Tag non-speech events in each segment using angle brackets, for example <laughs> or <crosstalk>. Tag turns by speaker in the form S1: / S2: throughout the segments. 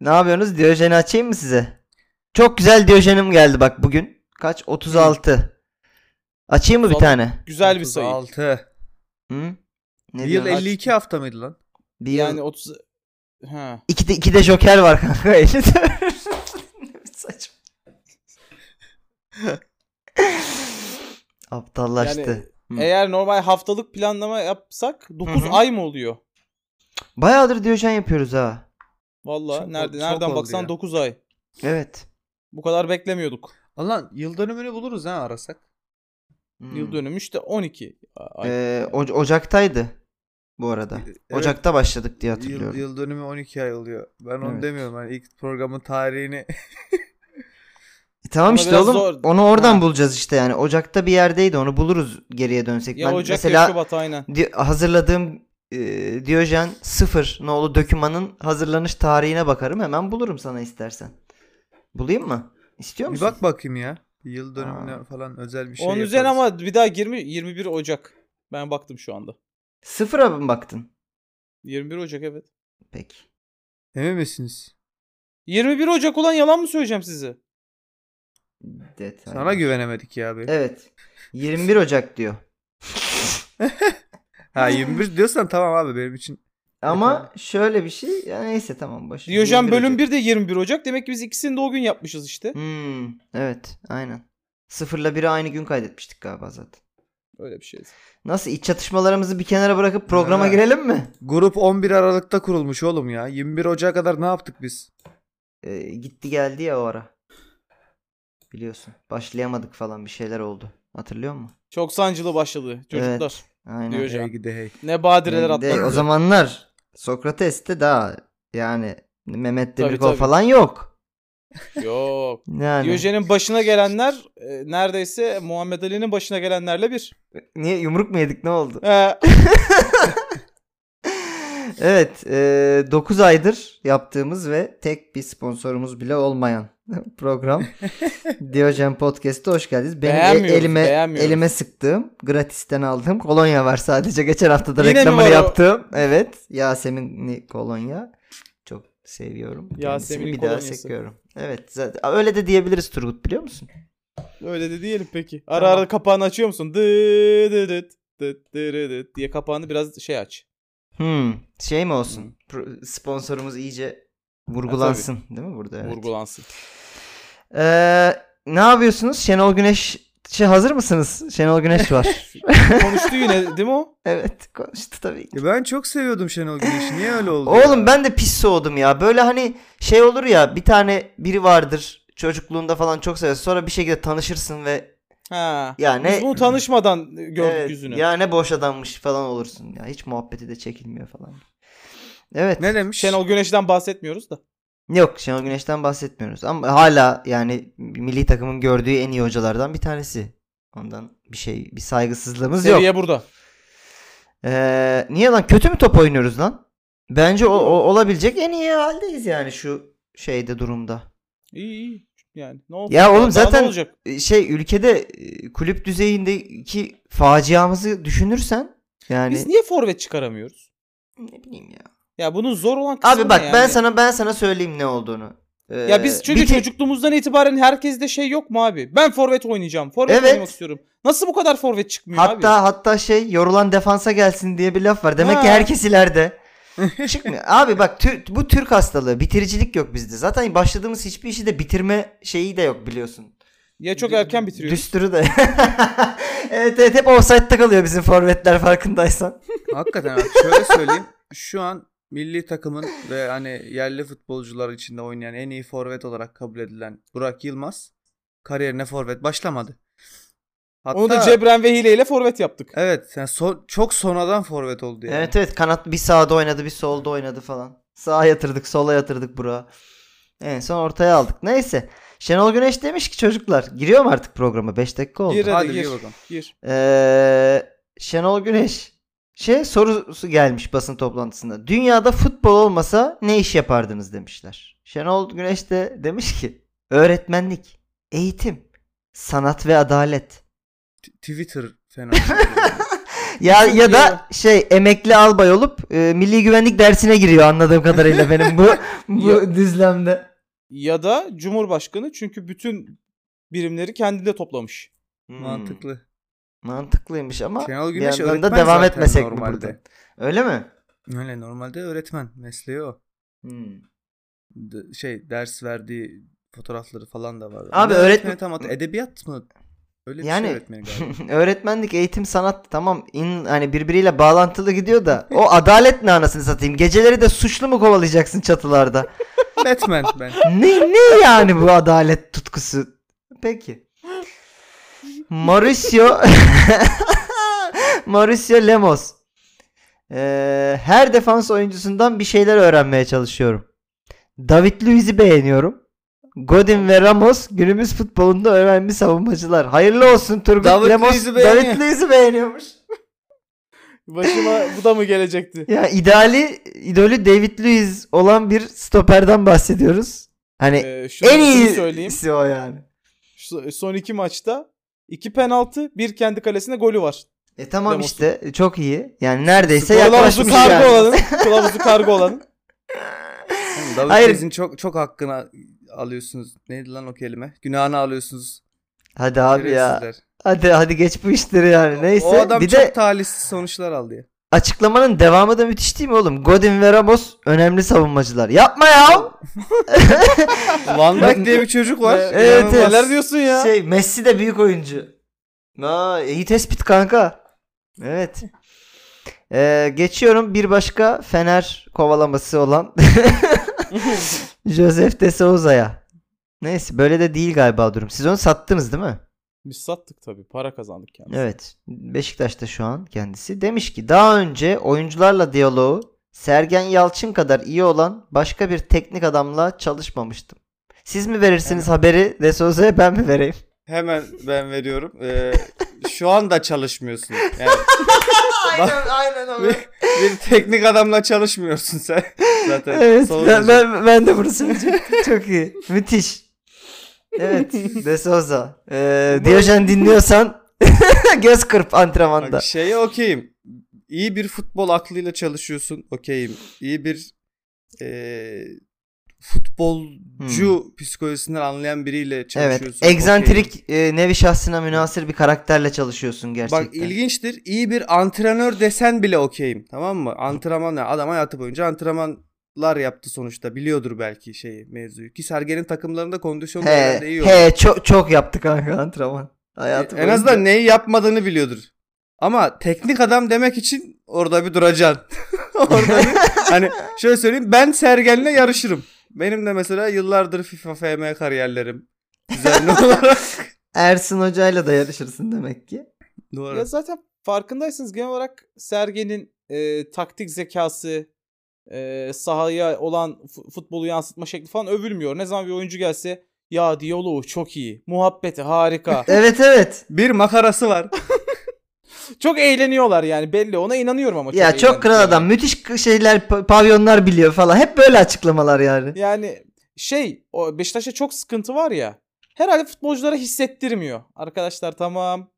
S1: Ne yapıyorsunuz? Diyojeni açayım mı size? Çok güzel diyojenim geldi bak bugün. Kaç? 36. Açayım mı bir
S2: Son-
S1: tane?
S2: Güzel bir sayı.
S3: 36.
S1: Hı? Ne
S3: Bir yıl
S1: diyorsun?
S3: 52 hafta mıydı lan?
S1: Bir yıl-
S2: Yani 30 ha.
S1: İki de, iki de joker var kanka <laughs> elinde. Saçma. Aptallaştı.
S2: Yani
S1: Hı.
S2: Eğer normal haftalık planlama yapsak 9
S1: Hı hı.
S2: ay mı oluyor?
S1: Bayağıdır diyojen yapıyoruz ha.
S2: Valla
S3: Çok-
S2: nerede
S3: çok
S2: nereden
S3: oldu
S2: baksan
S3: ya.
S2: 9 ay.
S1: Evet.
S2: Bu kadar beklemiyorduk.
S3: Lan yıl dönümünü buluruz ha arasak.
S1: Hmm.
S2: Yıl dönümü işte 12 ay.
S1: Ee, Oc- Ocak'taydı bu arada.
S3: Evet,
S1: Ocak'ta başladık diye
S3: Yıl,
S1: hatırlıyorum.
S3: yıl dönümü 12 ay oluyor. Ben onu
S1: Evet.
S3: demiyorum. Hani ilk programın tarihini
S1: E tamam
S2: Ama
S1: işte
S2: biraz
S1: oğlum
S2: zor.
S1: onu oradan
S2: Ha.
S1: bulacağız işte yani. Ocak'ta bir yerdeydi onu buluruz geriye dönsek.
S2: ya
S1: ben
S2: Ocak ya
S1: mesela
S2: Şubat aynen.
S1: di- hazırladığım e, Diyojen 0 nolu dokümanın hazırlanış tarihine bakarım hemen bulurum sana istersen. Bulayım mı? İstiyor
S3: bir
S1: musun?
S3: bak bakayım ya. Bir yıl dönümüne
S1: Aa.
S3: falan özel bir şey
S2: Onun üzerine
S3: yaparız.
S2: ama bir daha 20 21 Ocak. Ben baktım şu anda.
S1: Sıfıra mı baktın?
S2: 21 Ocak evet.
S1: Peki.
S3: Emin misiniz?
S2: 21 Ocak olan yalan mı söyleyeceğim size?
S1: Detay.
S3: Sana güvenemedik ya abi.
S1: Evet. 21 Ocak diyor.
S3: Ha 21 diyorsan tamam abi benim için.
S1: Ama şöyle bir şey ya neyse tamam boş. ver.
S2: Diyojen
S1: 21
S2: bölüm
S1: Ocak.
S2: 1 de 21 Ocak. Demek ki biz ikisini de o gün yapmışız işte.
S1: Hmm, evet aynen. Sıfırla biri aynı gün kaydetmiştik galiba zaten.
S2: Öyle bir şey.
S1: Nasıl iç çatışmalarımızı bir kenara bırakıp programa
S3: Ha.
S1: girelim mi?
S3: Grup 11 Aralık'ta kurulmuş oğlum ya. 21 Ocak'a kadar ne yaptık biz?
S1: Ee, gitti geldi ya o ara. Biliyorsun. Başlayamadık falan bir şeyler oldu. Hatırlıyor musun?
S2: Çok sancılı başladı çocuklar.
S1: Aynen.
S2: Diyor
S3: Hey gidi hey.
S2: Ne badireler
S1: Bir de
S2: atlattı.
S1: o zamanlar Sokrates'te daha yani Mehmet
S2: Tabii,
S1: Demirkol
S2: tabii.
S1: falan yok.
S2: Yok.
S1: Yani.
S2: Diyojen'in başına gelenler e, neredeyse Muhammed Ali'nin başına gelenlerle bir.
S1: Niye yumruk mu yedik ne oldu?
S2: Ee,
S1: <laughs> evet, 9 aydır yaptığımız ve tek bir sponsorumuz bile olmayan <laughs>
S2: <laughs>
S1: program Diyojen Podcast'a hoş geldiniz. Benim e-
S2: Beğenmiyoruz,
S1: elime
S2: beğenmiyoruz.
S1: elime sıktığım, gratisten aldığım kolonya var sadece. Geçen hafta da
S2: Yine mi var
S1: reklamını
S2: o?
S1: yaptım. Evet, Yasemin'li kolonya. Çok seviyorum. Kendisini
S2: Yasemin'in
S1: bir daha
S2: kolonyası.
S1: sekiyorum. Evet, zaten öyle de diyebiliriz Turgut biliyor musun?
S2: öyle de diyelim peki. Ara
S1: Tamam.
S2: ara kapağını açıyor musun? Dı dı dı dı dı dı dı diye kapağını biraz şey aç.
S1: Hmm, şey mi olsun?
S2: Hmm.
S1: Pro- Sponsorumuz iyice vurgulansın, değil mi burada? Evet.
S2: Vurgulansın.
S1: Ee, ne yapıyorsunuz? Şenol Güneş şey hazır mısınız? Şenol Güneş var.
S2: Konuştu yine değil mi o?
S1: <laughs> evet konuştu tabii. ki.
S3: Ya E, ben çok seviyordum Şenol Güneş'i. Niye öyle oldu? ya?
S1: Oğlum ben de pis soğudum ya. Böyle hani şey olur ya bir tane biri vardır çocukluğunda falan çok seversin. Sonra bir şekilde tanışırsın ve
S2: Ha.
S1: ya ne
S2: Biz bunu tanışmadan gördük
S1: Evet,
S2: yüzünü.
S1: Ya ne boş adammış falan olursun ya. Hiç muhabbeti de çekilmiyor falan. Evet.
S3: ne demiş?
S2: Şenol Güneş'ten bahsetmiyoruz da.
S1: Yok Şenol Güneş'ten bahsetmiyoruz ama hala yani milli takımın gördüğü en iyi hocalardan bir tanesi. Ondan bir şey bir saygısızlığımız yok.
S2: Seviye burada.
S1: Ee, niye lan kötü mü top oynuyoruz lan? Bence o, o- olabilecek en iyi haldeyiz yani şu şeyde durumda.
S2: İyi iyi. Yani ne oldu?
S1: Ya oğlum
S2: Daha
S1: zaten-
S2: ne olacak?
S1: Ee, Şey ülkede e, kulüp düzeyindeki faciamızı düşünürsen yani
S2: Biz niye forvet çıkaramıyoruz?
S1: ne bileyim ya.
S2: Ya bunun zor olan kısmı
S1: Abi bak
S2: ne yani?
S1: ben sana ben sana söyleyeyim ne olduğunu. Ee,
S2: Ya biz çünkü
S1: bir te-
S2: çocukluğumuzdan itibaren herkeste şey yok mu abi? Ben forvet oynayacağım. Forvet
S1: Evet.
S2: oynamak istiyorum. Nasıl bu kadar forvet çıkmıyor
S1: hatta
S2: abi?
S1: hatta şey yorulan defansa gelsin diye bir laf var. Demek ki
S2: Ha.
S1: herkes
S2: <laughs>
S1: ileride. Çıkmıyor. Abi bak Tür- bu Türk hastalığı. Bitiricilik yok bizde. Zaten başladığımız hiçbir işi de bitirme şeyi de yok biliyorsun.
S2: Ya çok
S1: Dü-
S2: erken bitiriyoruz.
S1: Düsturu da. <laughs> evet evet hep offside'da kalıyor bizim forvetler farkındaysan.
S3: Hakikaten abi şöyle söyleyeyim. Şu an milli takımın ve hani yerli futbolcular içinde oynayan en iyi forvet olarak kabul edilen Burak Yılmaz kariyerine forvet başlamadı. Hatta
S2: Onu da Cebren ve Hile ile forvet yaptık.
S3: evet yani son- çok sonradan forvet oldu yani.
S1: Evet evet kanat bir sağda oynadı bir solda oynadı falan. Sağa yatırdık sola yatırdık Burak'a. En son ortaya aldık. Neyse. Şenol Güneş demiş ki çocuklar giriyor mu artık programa? 5 dakika oldu.
S2: Gir hadi
S3: Hadi bir
S2: gir.
S3: bakalım.
S2: Gir.
S1: Ee, Şenol Güneş şey sorusu gelmiş basın toplantısında. Dünyada futbol olmasa ne iş yapardınız demişler. Şenol Güneş de demiş ki öğretmenlik, eğitim, sanat ve adalet.
S3: şey
S1: <laughs> Hmm.
S3: T- Twitter fena.
S1: ya ya da şey emekli albay olup e, milli güvenlik dersine giriyor anladığım kadarıyla benim bu <laughs> bu düzlemde.
S2: Ya da Cumhurbaşkanı çünkü bütün birimleri kendinde toplamış.
S3: Mantıklı.
S1: Hmm, Mantıklıymış ama
S3: Şenol
S1: bir
S3: Güneş
S1: yandan
S3: öğretmen
S1: da devam
S3: zaten
S1: etmesek mi
S3: normalde.
S1: burada? Öyle mi?
S3: Öyle normalde öğretmen mesleği o.
S1: Hmm.
S3: D- şey ders verdiği fotoğrafları falan da var.
S1: Abi öğretmen-
S3: Ne öğretmeni tam hatır- edebiyat mı? Öyle bir
S1: Yani-
S3: şey öğretmeni
S1: <laughs>
S3: galiba.
S1: Öğretmenlik, eğitim, sanat tamam in, hani birbiriyle bağlantılı gidiyor da o adalet ne anasını satayım? Geceleri de suçlu mu kovalayacaksın çatılarda?
S3: Batman ben.
S1: ne ne yani bu adalet tutkusu? Peki. Mauricio <laughs> Mauricio Lemos. Ee, her defans oyuncusundan bir şeyler öğrenmeye çalışıyorum. David Luiz'i beğeniyorum. Godin ve Ramos günümüz futbolunda önemli savunmacılar. Hayırlı olsun Turgut
S3: David
S1: Lemos.
S3: Luiz'i beğeniyor.
S1: David Luiz'i beğeniyormuş.
S2: Başıma bu da
S1: <laughs>
S2: mı gelecekti?
S1: Ya ideali idolü David Luiz olan bir stoperden bahsediyoruz. Hani
S2: Ee, şunu,
S1: en
S3: şey
S2: şunu
S1: iyi
S2: söyleyeyim.
S1: o yani.
S2: Şu- son iki maçta iki penaltı, bir kendi kalesine golü var.
S1: E tamam
S2: Ramos'un.
S1: işte çok iyi. Yani neredeyse
S2: Kılavuzu
S1: yaklaşmış
S2: kargo
S1: yani.
S2: olanın. Kılavuzu kargo olanın.
S3: Oğlum, David
S1: Hayır.
S3: Luiz'in çok çok hakkını alıyorsunuz. Neydi lan o kelime? Günahını alıyorsunuz.
S1: Hadi abi ya.
S3: Şerefsizler.
S1: Hadi hadi geç bu işleri yani. Neyse.
S3: O adam
S1: bir
S3: çok
S1: de
S3: talihsiz sonuçlar
S1: <laughs>
S3: aldı ya.
S1: açıklamanın devamı da müthiş değil mi oğlum? Godin ve Ramos önemli savunmacılar. Yapma ya.
S3: Van Dijk diye bir çocuk var.
S1: <laughs>
S2: Evet,
S1: <laughs> evet.
S3: İnanılmaz.
S2: Neler diyorsun ya?
S1: Şey Messi de büyük oyuncu. Aa, iyi tespit kanka. Evet. Ee, geçiyorum bir başka Fener kovalaması olan
S3: <laughs>
S1: <laughs> Joseph de Souza'ya. Neyse böyle de değil galiba durum. Siz onu sattınız değil mi?
S2: Biz sattık tabii. Para kazandık yani.
S1: Evet. Beşiktaş'ta şu an kendisi. Demiş ki daha önce oyuncularla diyaloğu Sergen Yalçın kadar iyi olan başka bir teknik adamla çalışmamıştım. Siz mi verirsiniz haberi De Souza'ya <laughs> ben mi vereyim?
S3: Hemen ben veriyorum. Ee, şu anda çalışmıyorsun. Yani Aynen,
S1: <laughs> aynen
S3: bir, bir teknik adamla çalışmıyorsun sen. <laughs> Zaten
S1: Evet ben,
S3: savunmacı.
S1: ben, ben de bunu
S3: <laughs>
S1: söyleyecektim. Çok iyi. Müthiş. Evet De Souza. Ee, Diyojen dinliyorsan <laughs> göz kırp antrenmanda.
S3: Bak, şeye okeyim. İyi bir futbol aklıyla çalışıyorsun. Okeyim. İyi bir e, futbolcu psikolojisinden anlayan biriyle
S1: Hmm. Evet.
S3: çalışıyorsun. okeyim.
S1: Egzantrik e, nevi şahsına münasır bir karakterle çalışıyorsun gerçekten.
S3: Bak ilginçtir. İyi bir antrenör desen bile okeyim. Tamam mı? Antrenman ya. Adam hayatı boyunca antrenmanlar yaptı sonuçta. Biliyordur belki şeyi mevzuyu. Ki Sergen'in takımlarında kondisyon da
S1: He,
S3: herhalde iyi oldu.
S1: he çok çok yaptı kanka antrenman. Hayatı
S3: en azından neyi yapmadığını biliyordur. Ama teknik adam demek için orada bir duracaksın. <laughs> orada bir, hani şöyle söyleyeyim ben Sergen'le yarışırım. Benim de mesela yıllardır FIFA FM kariyerlerim. Düzenli <laughs> olarak.
S1: Ersin Hoca'yla da yarışırsın demek ki.
S3: Doğru.
S2: Ya zaten farkındaysanız genel olarak Sergen'in e, taktik zekası, e, sahaya olan fu- futbolu yansıtma şekli falan övülmüyor. Ne zaman bir oyuncu gelse ya diyaloğu çok iyi, muhabbeti
S3: Ah.
S2: harika.
S1: <laughs> Evet evet.
S3: Bir makarası var.
S2: çok eğleniyorlar yani belli ona inanıyorum ama.
S1: ya çok kral
S2: eğlendiklerini.
S1: adam. Müthiş k- şeyler pa- pavyonlar biliyor falan. Hep böyle açıklamalar yani.
S2: Yani şey o Beşiktaş'ta çok sıkıntı var ya. Herhalde futbolculara hissettirmiyor. Arkadaşlar
S1: <laughs>
S2: tamam.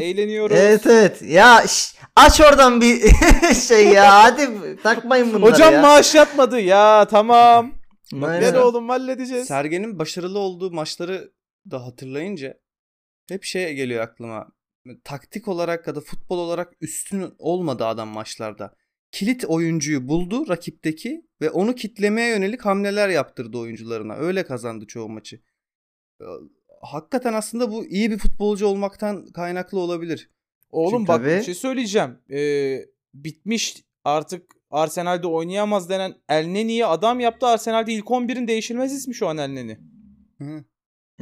S2: Eğleniyoruz.
S1: Evet evet. Ya şş, aç oradan bir <laughs> şey ya. Hadi takmayın bunları
S2: Hocam
S1: ya.
S2: maaş yatmadı ya tamam.
S1: <laughs> Aynen.
S2: Gel oğlum halledeceğiz.
S3: Sergen'in başarılı olduğu maçları da hatırlayınca hep şey geliyor aklıma. Taktik olarak ya da futbol olarak üstün olmadı adam maçlarda. Kilit oyuncuyu buldu rakipteki ve onu kitlemeye yönelik hamleler yaptırdı oyuncularına. Öyle kazandı çoğu maçı. Ee, Hakikaten aslında bu iyi bir futbolcu olmaktan kaynaklı olabilir.
S2: Oğlum
S1: Çünkü
S2: bak
S1: tabii-
S2: bir şey söyleyeceğim. Ee, bitmiş artık Arsenal'de oynayamaz denen Elneni'ye adam yaptı. Arsenal'de ilk 11'in değişilmez ismi şu an Elneni.
S3: Hı.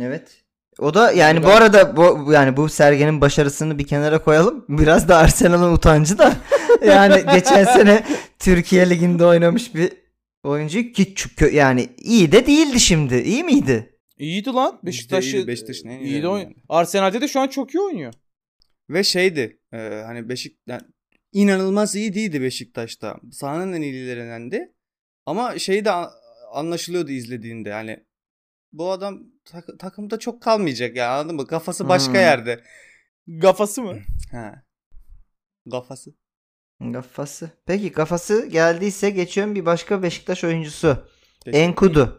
S1: Evet. O da yani bu
S2: Ben-
S1: arada bu bu- yani bu serginin başarısını bir kenara koyalım. <laughs> Biraz da Arsenal'ın utancı da <laughs> yani geçen sene Türkiye liginde oynamış bir oyuncu ki çünkü yani iyi de değildi şimdi. İyi miydi?
S2: İyiydi lan. Beşiktaş'ı
S3: iyiydi, Beşiktaş'ın en
S2: iyiydi
S3: iyilerinden
S2: oyn-
S3: yani.
S2: Arsenal'de de şu an çok iyi oynuyor.
S3: Ve şeydi e, hani Beşik yani inanılmaz iyi değildi Beşiktaş'ta. Sahanın en iyilerindendi. Ama şey de a- anlaşılıyordu izlediğinde hani bu adam tak- takımda çok kalmayacak ya anladın mı? Kafası başka
S1: Hmm.
S3: yerde.
S2: Kafası mı?
S3: Ha. Kafası.
S1: Kafası. Peki kafası geldiyse geçiyorum bir başka Beşiktaş oyuncusu.
S3: Teşekkür
S1: Enkudu.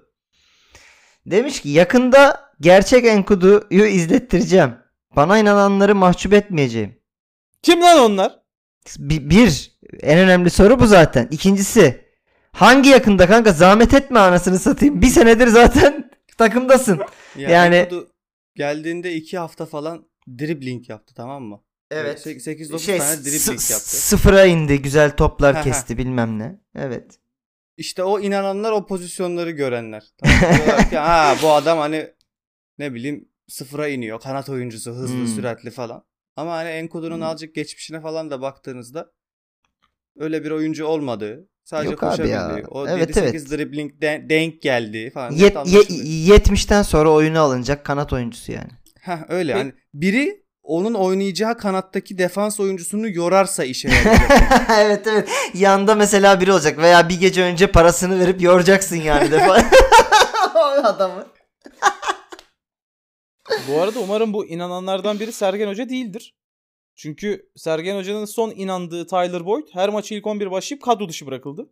S1: Demiş ki yakında gerçek Enkudu'yu izlettireceğim. Bana inananları mahcup etmeyeceğim.
S2: <laughs> Kim lan onlar?
S1: Bi- Bir, en önemli soru bu zaten. İkincisi hangi yakında kanka zahmet etme anasını satayım. Bir senedir zaten <laughs> takımdasın.
S3: Ya
S1: Yani-
S3: Enkudu geldiğinde 2 hafta falan dribbling yaptı tamam mı?
S1: Şey,
S3: 8-9 tane dribbling
S1: s-
S3: yaptı.
S1: Sıfıra indi güzel
S3: Ha,
S1: toplar
S3: ha.
S1: kesti bilmem ne. Evet.
S3: İşte o inananlar o pozisyonları görenler. Tamam, diyorlar ki, ha bu adam hani ne bileyim sıfıra iniyor. Kanat oyuncusu hızlı
S1: Hmm.
S3: süratli falan. Ama hani Enkudu'nun
S1: Hmm.
S3: azıcık geçmişine falan da baktığınızda öyle bir oyuncu olmadığı. Sadece
S1: Yok abi ya.
S3: koşabildiği. O
S1: Evet,
S3: 7-8 dribbling de- denk geldiği falan.
S1: Yet, ye-
S3: anlaşılıyor.
S1: 70'ten sonra oyunu alınacak kanat oyuncusu yani.
S3: Heh, öyle
S2: Pe-
S3: yani. Biri onun oynayacağı kanattaki defans oyuncusunu yorarsa işe
S1: <laughs>
S3: yarayacak.
S1: <laughs> evet evet. Yanda mesela biri olacak veya bir gece önce parasını verip yoracaksın yani defa. <laughs> O adamı.
S2: Bu arada umarım bu inananlardan biri Sergen Hoca değildir. Çünkü Sergen Hoca'nın son inandığı Tyler Boyd her maçı ilk 11 başlayıp kadro dışı bırakıldı.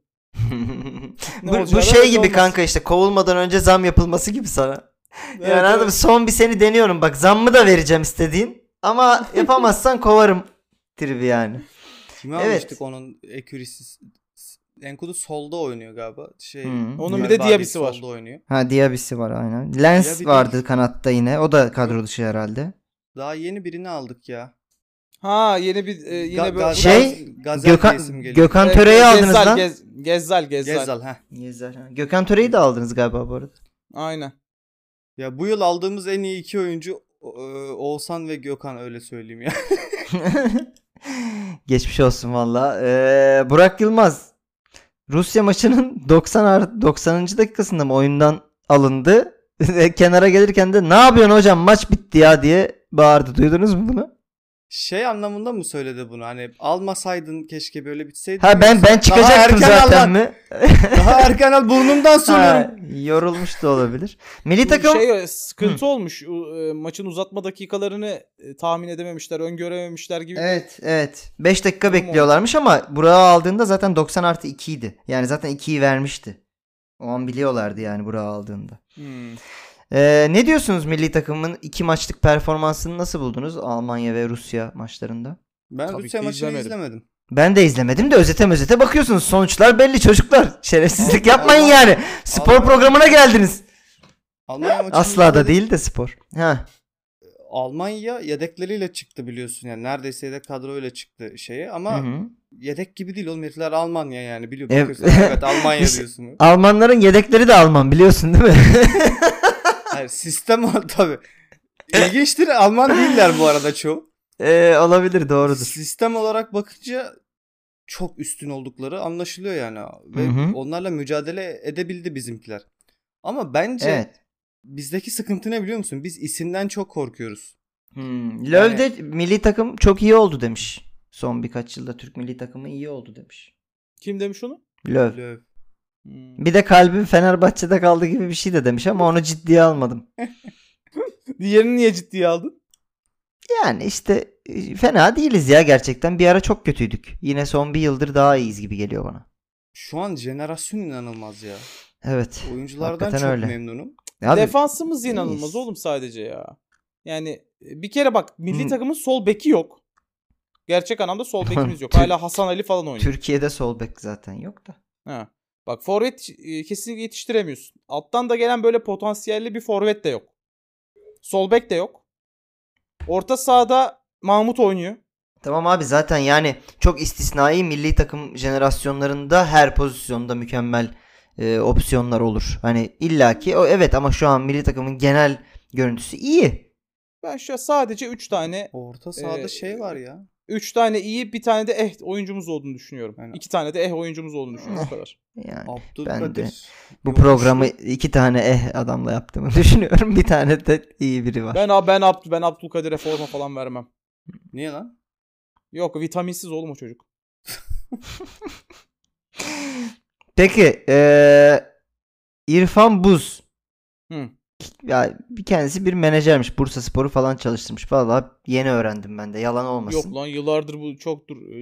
S1: <laughs>
S2: Ne
S1: bu, bu
S2: olacağı da
S1: şey
S2: belli
S1: gibi
S2: olmaz.
S1: kanka işte kovulmadan önce zam yapılması gibi sana.
S2: Evet,
S1: yani anladın
S2: evet.
S1: mı? son bir seni deniyorum bak zammı da vereceğim istediğin <laughs> ama yapamazsan kovarım tribi yani.
S3: Kimi
S1: Evet.
S3: almıştık onun ekürisi? Enkudu solda oynuyor galiba. Şey,
S1: Hmm.
S2: Onun bir de
S3: Garibaldi
S2: Diabisi var.
S3: Solda oynuyor.
S1: Ha Diabisi var aynen. Lens
S3: Diaby
S1: vardı
S3: değil.
S1: kanatta yine. O da kadro dışı herhalde.
S3: Daha yeni birini aldık ya.
S2: Ha yeni bir e, yine
S3: Ga-
S2: böyle
S3: Ga-
S1: Şey,
S3: Gazel diye isim
S1: Gökhan,
S3: geliyor.
S1: Gökhan
S2: E,
S1: Töre'yi
S2: Gez-
S1: aldınız
S2: Gezzal,
S1: lan.
S2: Gez- Gezzal, Gezzal.
S3: Gezzal ha.
S1: Gezer, ha. Gökhan Töre'yi de aldınız galiba bu arada. <laughs>
S2: Aynen.
S3: Ya bu yıl aldığımız en iyi iki oyuncu o- e, Oğuzhan ve Gökhan öyle söyleyeyim ya. <laughs>
S1: Geçmiş olsun valla. Ee, Burak Yılmaz Rusya maçının <laughs> 90 ar- 90. dakikasında mı oyundan alındı. <laughs> Ve Kenara gelirken de ne yapıyorsun hocam maç bitti ya diye bağırdı. Duydunuz mu bunu?
S3: Şey anlamında mı söyledi bunu? Hani almasaydın keşke böyle bitseydi.
S1: Ha ben ben çıkacaktım
S3: erken al
S1: zaten
S3: lan.
S1: mi?
S3: Daha erken al
S1: <laughs> Ha,
S3: burnumdan sürüyorum.
S1: yorulmuş da olabilir. Milli
S2: Bu
S1: takım
S2: Şey, e, sıkıntı olmuş. U- e, Maçın uzatma dakikalarını e, tahmin edememişler, öngörememişler gibi.
S1: Evet evet. 5 dakika
S2: Tamam.
S1: bekliyorlarmış ama Burak'ı aldığında zaten 90 artı 2 idi. Yani zaten 2'yi vermişti. O an biliyorlardı yani Burak'ı aldığında.
S2: Hmm.
S1: Ee, ne diyorsunuz milli takımın 2 maçlık performansını nasıl buldunuz Almanya ve Rusya maçlarında?
S3: Ben
S2: Tabii
S3: Rusya
S2: ki
S3: maçını
S2: izlemedim.
S3: izlemedim.
S1: Ben de izlemedim de özete özete bakıyorsunuz. Sonuçlar belli çocuklar. Şerefsizlik
S3: Allah-
S1: yapmayın
S3: Allah-
S1: yani. Spor
S3: Allah-
S1: programına geldiniz.
S3: Almanya maçını
S1: Asla da
S3: izlemedim.
S1: değil de spor. Ha.
S3: Almanya yedekleriyle çıktı biliyorsun yani neredeyse yedek kadroyla çıktı şeye ama
S1: Hı hı.
S3: yedek gibi değil oğlum herifler Almanya yani biliyor
S1: Evet.
S3: bakıyorsun, evet
S1: <laughs>
S3: Almanya
S1: Biz-
S3: diyorsun.
S1: Almanların yedekleri de Alman biliyorsun değil mi?
S3: Hayır sistem o <laughs> tabii. İlginçtir Alman değiller bu arada çoğu.
S1: Ee, olabilir doğrudur.
S3: Sistem olarak bakınca çok üstün oldukları anlaşılıyor yani ve
S1: Hı hı.
S3: onlarla mücadele edebildi bizimkiler. Ama bence
S1: Evet.
S3: bizdeki sıkıntı ne biliyor musun? Biz isimden çok korkuyoruz.
S1: Hmm. LoL'de milli takım çok iyi oldu demiş. Son birkaç yılda Türk milli takımı iyi oldu demiş.
S2: Kim demiş onu?
S1: LoL.
S3: Löw.
S2: Hmm.
S1: Bir de kalbim Fenerbahçe'de kaldı gibi bir şey de demiş ama onu ciddiye almadım.
S2: Diğerini niye ciddiye aldın?
S1: Yani işte e, fena değiliz ya gerçekten. Bir ara çok kötüydük. Yine son bir yıldır daha iyiyiz gibi geliyor bana.
S3: Şu an jenerasyon inanılmaz ya.
S1: Evet.
S3: Oyunculardan
S1: Hakikaten
S3: çok
S1: öyle.
S3: memnunum.
S1: Abi,
S2: Defansımız
S1: iyiyiz.
S2: inanılmaz oğlum sadece ya. Yani e, bir kere bak milli
S1: Hmm.
S2: takımın sol beki yok. Gerçek anlamda
S1: <laughs>
S2: sol bekimiz yok. Hala Hasan Ali falan oynuyor.
S1: Türkiye'de sol bek zaten yok da.
S2: Ha. Bak forvet e, kesinlikle yetiştiremiyorsun. Alttan da gelen böyle potansiyelli bir forvet de yok. Sol bek de yok. Orta sahada Mahmut oynuyor.
S1: Tamam abi zaten yani çok istisnai milli takım jenerasyonlarında her pozisyonda mükemmel e, opsiyonlar olur. Hani illaki o evet ama şu an milli takımın genel görüntüsü iyi.
S2: Ben şu an sadece 3 tane
S3: Orta sahada
S2: Ee,
S3: şey var ya.
S2: 3 tane iyi, bir tane de eh oyuncumuz olduğunu düşünüyorum.
S3: Aynen.
S2: 2 tane de eh oyuncumuz olduğunu düşünüyorum
S1: <laughs>
S2: bu kadar.
S1: Yani ben de
S3: Abdülkadir.
S1: bu
S3: Yok,
S1: programı iki tane eh adamla yaptığımı <laughs> düşünüyorum. Bir tane de iyi biri var.
S2: Ben ben Abdü ben Abdülkadir'e forma falan vermem.
S3: Niye lan?
S2: Yok vitaminsiz oğlum o çocuk.
S1: Peki e, İrfan Buz
S2: Hı.
S1: ya bir kendisi bir menajermiş. Bursa Sporu falan çalıştırmış. Vallahi yeni öğrendim ben de. Yalan olmasın.
S2: Yok lan yıllardır bu çoktur. e,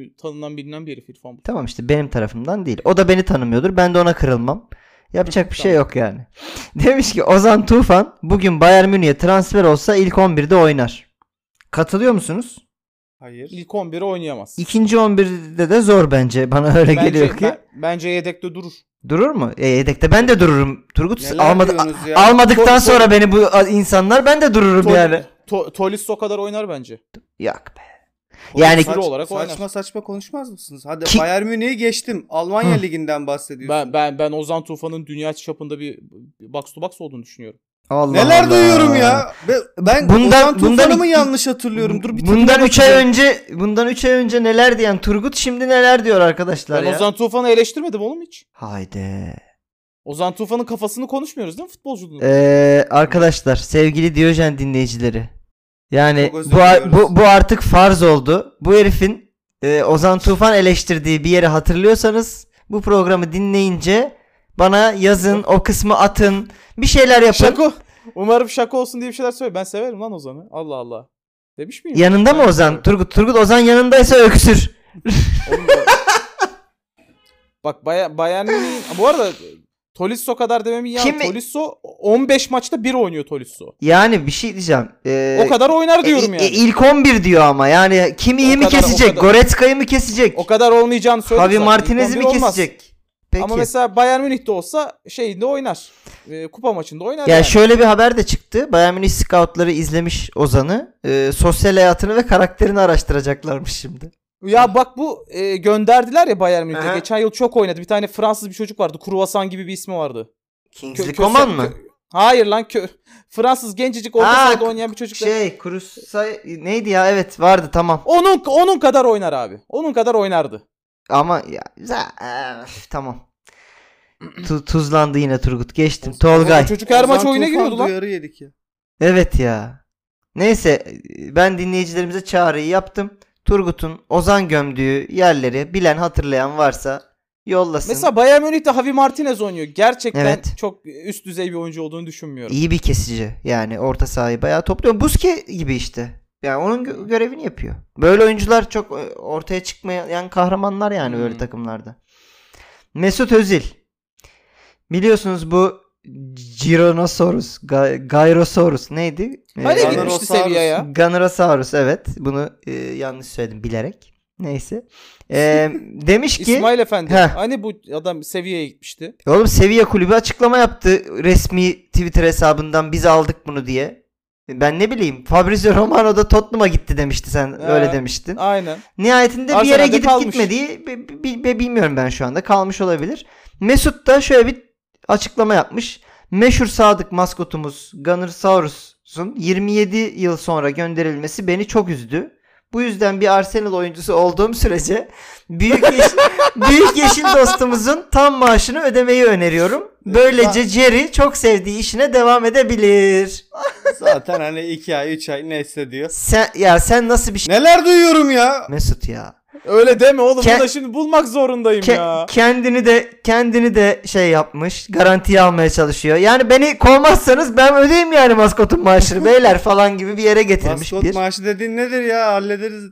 S2: e, Tanınan bilinen bir herif İrfan. bu.
S1: Tamam işte benim tarafımdan değil. O da beni tanımıyordur. Ben de ona kırılmam. Yapacak bir şey
S2: Tamam.
S1: yok yani. <laughs> Demiş ki Ozan Tufan bugün Bayern Münih'e transfer olsa ilk 11'de oynar. Katılıyor musunuz?
S3: Hayır.
S2: İlk 11'i oynayamaz.
S1: İkinci 11'de de zor bence. Bana <laughs> öyle
S2: Bence-
S1: geliyor ki.
S2: ben- bence yedekte durur.
S1: Durur mu? E, yedekte ben de dururum. Turgut
S3: Neler
S1: almadı,
S3: diyorsunuz ya?
S1: almadıktan
S2: Tol-
S1: sonra beni bu a- insanlar ben de dururum
S2: Tol-
S1: yani.
S2: To- Tolisso kadar oynar bence.
S1: Yok be. Yani-
S3: Saç-
S2: Kuru olarak
S3: saçma
S2: oynar.
S3: saçma konuşmaz mısınız? Hadi
S1: Ki-
S3: Bayern Münih'i geçtim. Almanya
S1: Hı.
S3: liginden
S2: Ben
S3: bahsediyorsun.
S2: ben ben Ozan Tufan'ın dünya çapında bir bir box to box olduğunu düşünüyorum.
S1: Allah
S3: Neler
S1: Allah.
S3: duyuyorum ya? Be- Ben
S1: Bundan-
S3: bundan, Ozan
S1: bundan-
S3: bundan mı yanlış hatırlıyorum? Dur bir
S1: bundan
S3: tadına
S1: 3 ay
S3: bakacağım.
S1: önce bundan 3 ay önce neler diyen Turgut şimdi neler diyor arkadaşlar
S2: Ben
S1: ya.
S2: Ozan Tufan'ı eleştirmedim oğlum hiç.
S1: Haydi.
S2: Ozan Tufan'ın kafasını konuşmuyoruz değil mi futbolculuğunu?
S1: Ee, arkadaşlar sevgili Diyojen dinleyicileri. Yani
S3: Çok özür
S1: bu, ar-
S3: diliyoruz.
S1: bu, bu artık farz oldu. Bu herifin e, Ozan Tufan eleştirdiği bir yeri hatırlıyorsanız bu programı dinleyince bana yazın o kısmı atın bir şeyler yapın.
S2: Şako. Umarım şaka olsun diye bir şeyler söyle. Ben severim lan Ozan'ı. Allah Allah. Demiş miyim?
S1: Yanında
S2: Ben
S1: mı Ozan?
S2: severim.
S1: Turgut Turgut Ozan yanındaysa öksür.
S2: Oğlum ya. Bak Bay
S1: <laughs>
S2: Bayern Münih'in- bu arada Tolisso kadar dememin ya
S1: Kim-
S2: Tolisso 15 maçta 1 oynuyor Tolisso.
S1: Yani bir şey diyeceğim. Ee, e,
S2: o kadar oynar diyorum yani.
S1: ilk 11 diyor ama yani kim iyi
S2: O
S1: mi
S2: kadar- o
S1: kesecek?
S2: kadar.
S1: Goretzka'yı mı kesecek?
S2: o kadar olmayacağını söyledim.
S1: Javi
S2: zaten.
S1: Martinez'i
S2: İlk
S1: mi
S2: 11 olmaz.
S1: kesecek? Peki.
S2: Ama mesela Bayern Münih'te olsa şeyinde oynar. Ee, kupa maçında oynar.
S1: Ya
S2: yani.
S1: şöyle bir haber de çıktı. Bayern Münih scoutları izlemiş Ozan'ı. Ee, sosyal hayatını ve karakterini araştıracaklarmış şimdi.
S2: Ya bak bu e, gönderdiler ya Bayern Münih'te.
S1: Aha.
S2: Geçen yıl çok oynadı. Bir tane Fransız bir çocuk vardı. Kruvasan gibi bir ismi vardı. Kö-
S1: Kingsley
S2: köse-
S1: Coman mı?
S2: kö- Hayır lan kö- Fransız gencecik orta
S1: Ha,
S2: sahada oynayan bir çocuk. da-
S1: Şey, Kurusay neydi ya? Evet, vardı tamam.
S2: Onun onun kadar oynar abi. Onun kadar oynardı.
S1: Ama ya za- öf,
S2: <clears throat>
S1: tamam. Tu- tuzlandı yine Turgut. Geçtim.
S3: Ozan-
S1: Tolgay.
S2: O çocuk her maç
S3: Ozan
S2: oyuna
S3: Tufan
S2: giriyordu lan.
S3: duyarı yedik ya.
S1: Evet ya. Neyse ben dinleyicilerimize çağrıyı yaptım. Turgut'un Ozan gömdüğü yerleri bilen hatırlayan varsa yollasın.
S2: Mesela Bayern Münih'te Javi Martinez oynuyor. Gerçekten
S1: Evet.
S2: çok üst düzey bir oyuncu olduğunu düşünmüyorum.
S1: İyi bir kesici. Yani orta sahayı bayağı topluyor. Buske gibi işte. Yani onun gö- görevini yapıyor. Böyle oyuncular çok e, ortaya çıkmayan kahramanlar yani böyle
S2: Hmm.
S1: takımlarda. Mesut Özil. Biliyorsunuz bu Gironosaurus, Ga- Gyrosaurus neydi? Ee,
S2: Hani
S3: Ee,
S2: gitmişti
S3: Ronaldo
S2: seviye ya.
S1: Ganorasaurus evet. Bunu e, yanlış söyledim bilerek. Neyse.
S2: <laughs>
S1: Ee, demiş ki
S2: İsmail Efendi.
S1: Heh.
S2: Hani bu adam seviyeye gitmişti.
S1: E oğlum Sevilla kulübü açıklama yaptı resmi Twitter hesabından biz aldık bunu diye. Ben ne bileyim Fabrizio Romano da Tottenham'a gitti demişti sen
S2: Ee,
S1: öyle demiştin.
S2: Aynen.
S1: Nihayetinde bir yere
S2: Arsenal'de
S1: gidip
S2: kalmış.
S1: gitmediği bi- bi- bi- bilmiyorum ben şu anda kalmış olabilir. Mesut da şöyle bir açıklama yapmış. Meşhur sadık maskotumuz Gunner Saurus'un 27 yıl sonra gönderilmesi beni çok üzdü. Bu yüzden bir Arsenal oyuncusu olduğum sürece büyük yeş- büyük yeşil dostumuzun tam maaşını ödemeyi öneriyorum. Böylece Jerry çok sevdiği işine devam edebilir.
S3: Zaten hani 2 ay 3 ay neyse diyor.
S1: Sen ya sen nasıl bir şey
S3: Neler duyuyorum ya?
S1: Mesut ya.
S2: Öyle deme oğlum.
S1: Ke-
S2: Bunu da şimdi bulmak zorundayım
S1: Ke-
S2: ya.
S1: kendini de kendini de şey yapmış. Garantiye almaya çalışıyor. Yani beni kovmazsanız ben ödeyeyim yani maskotun maaşını beyler falan gibi bir yere getirmiş
S3: Maskot
S1: bir.
S3: maaşı dediğin nedir ya? Hallederiz.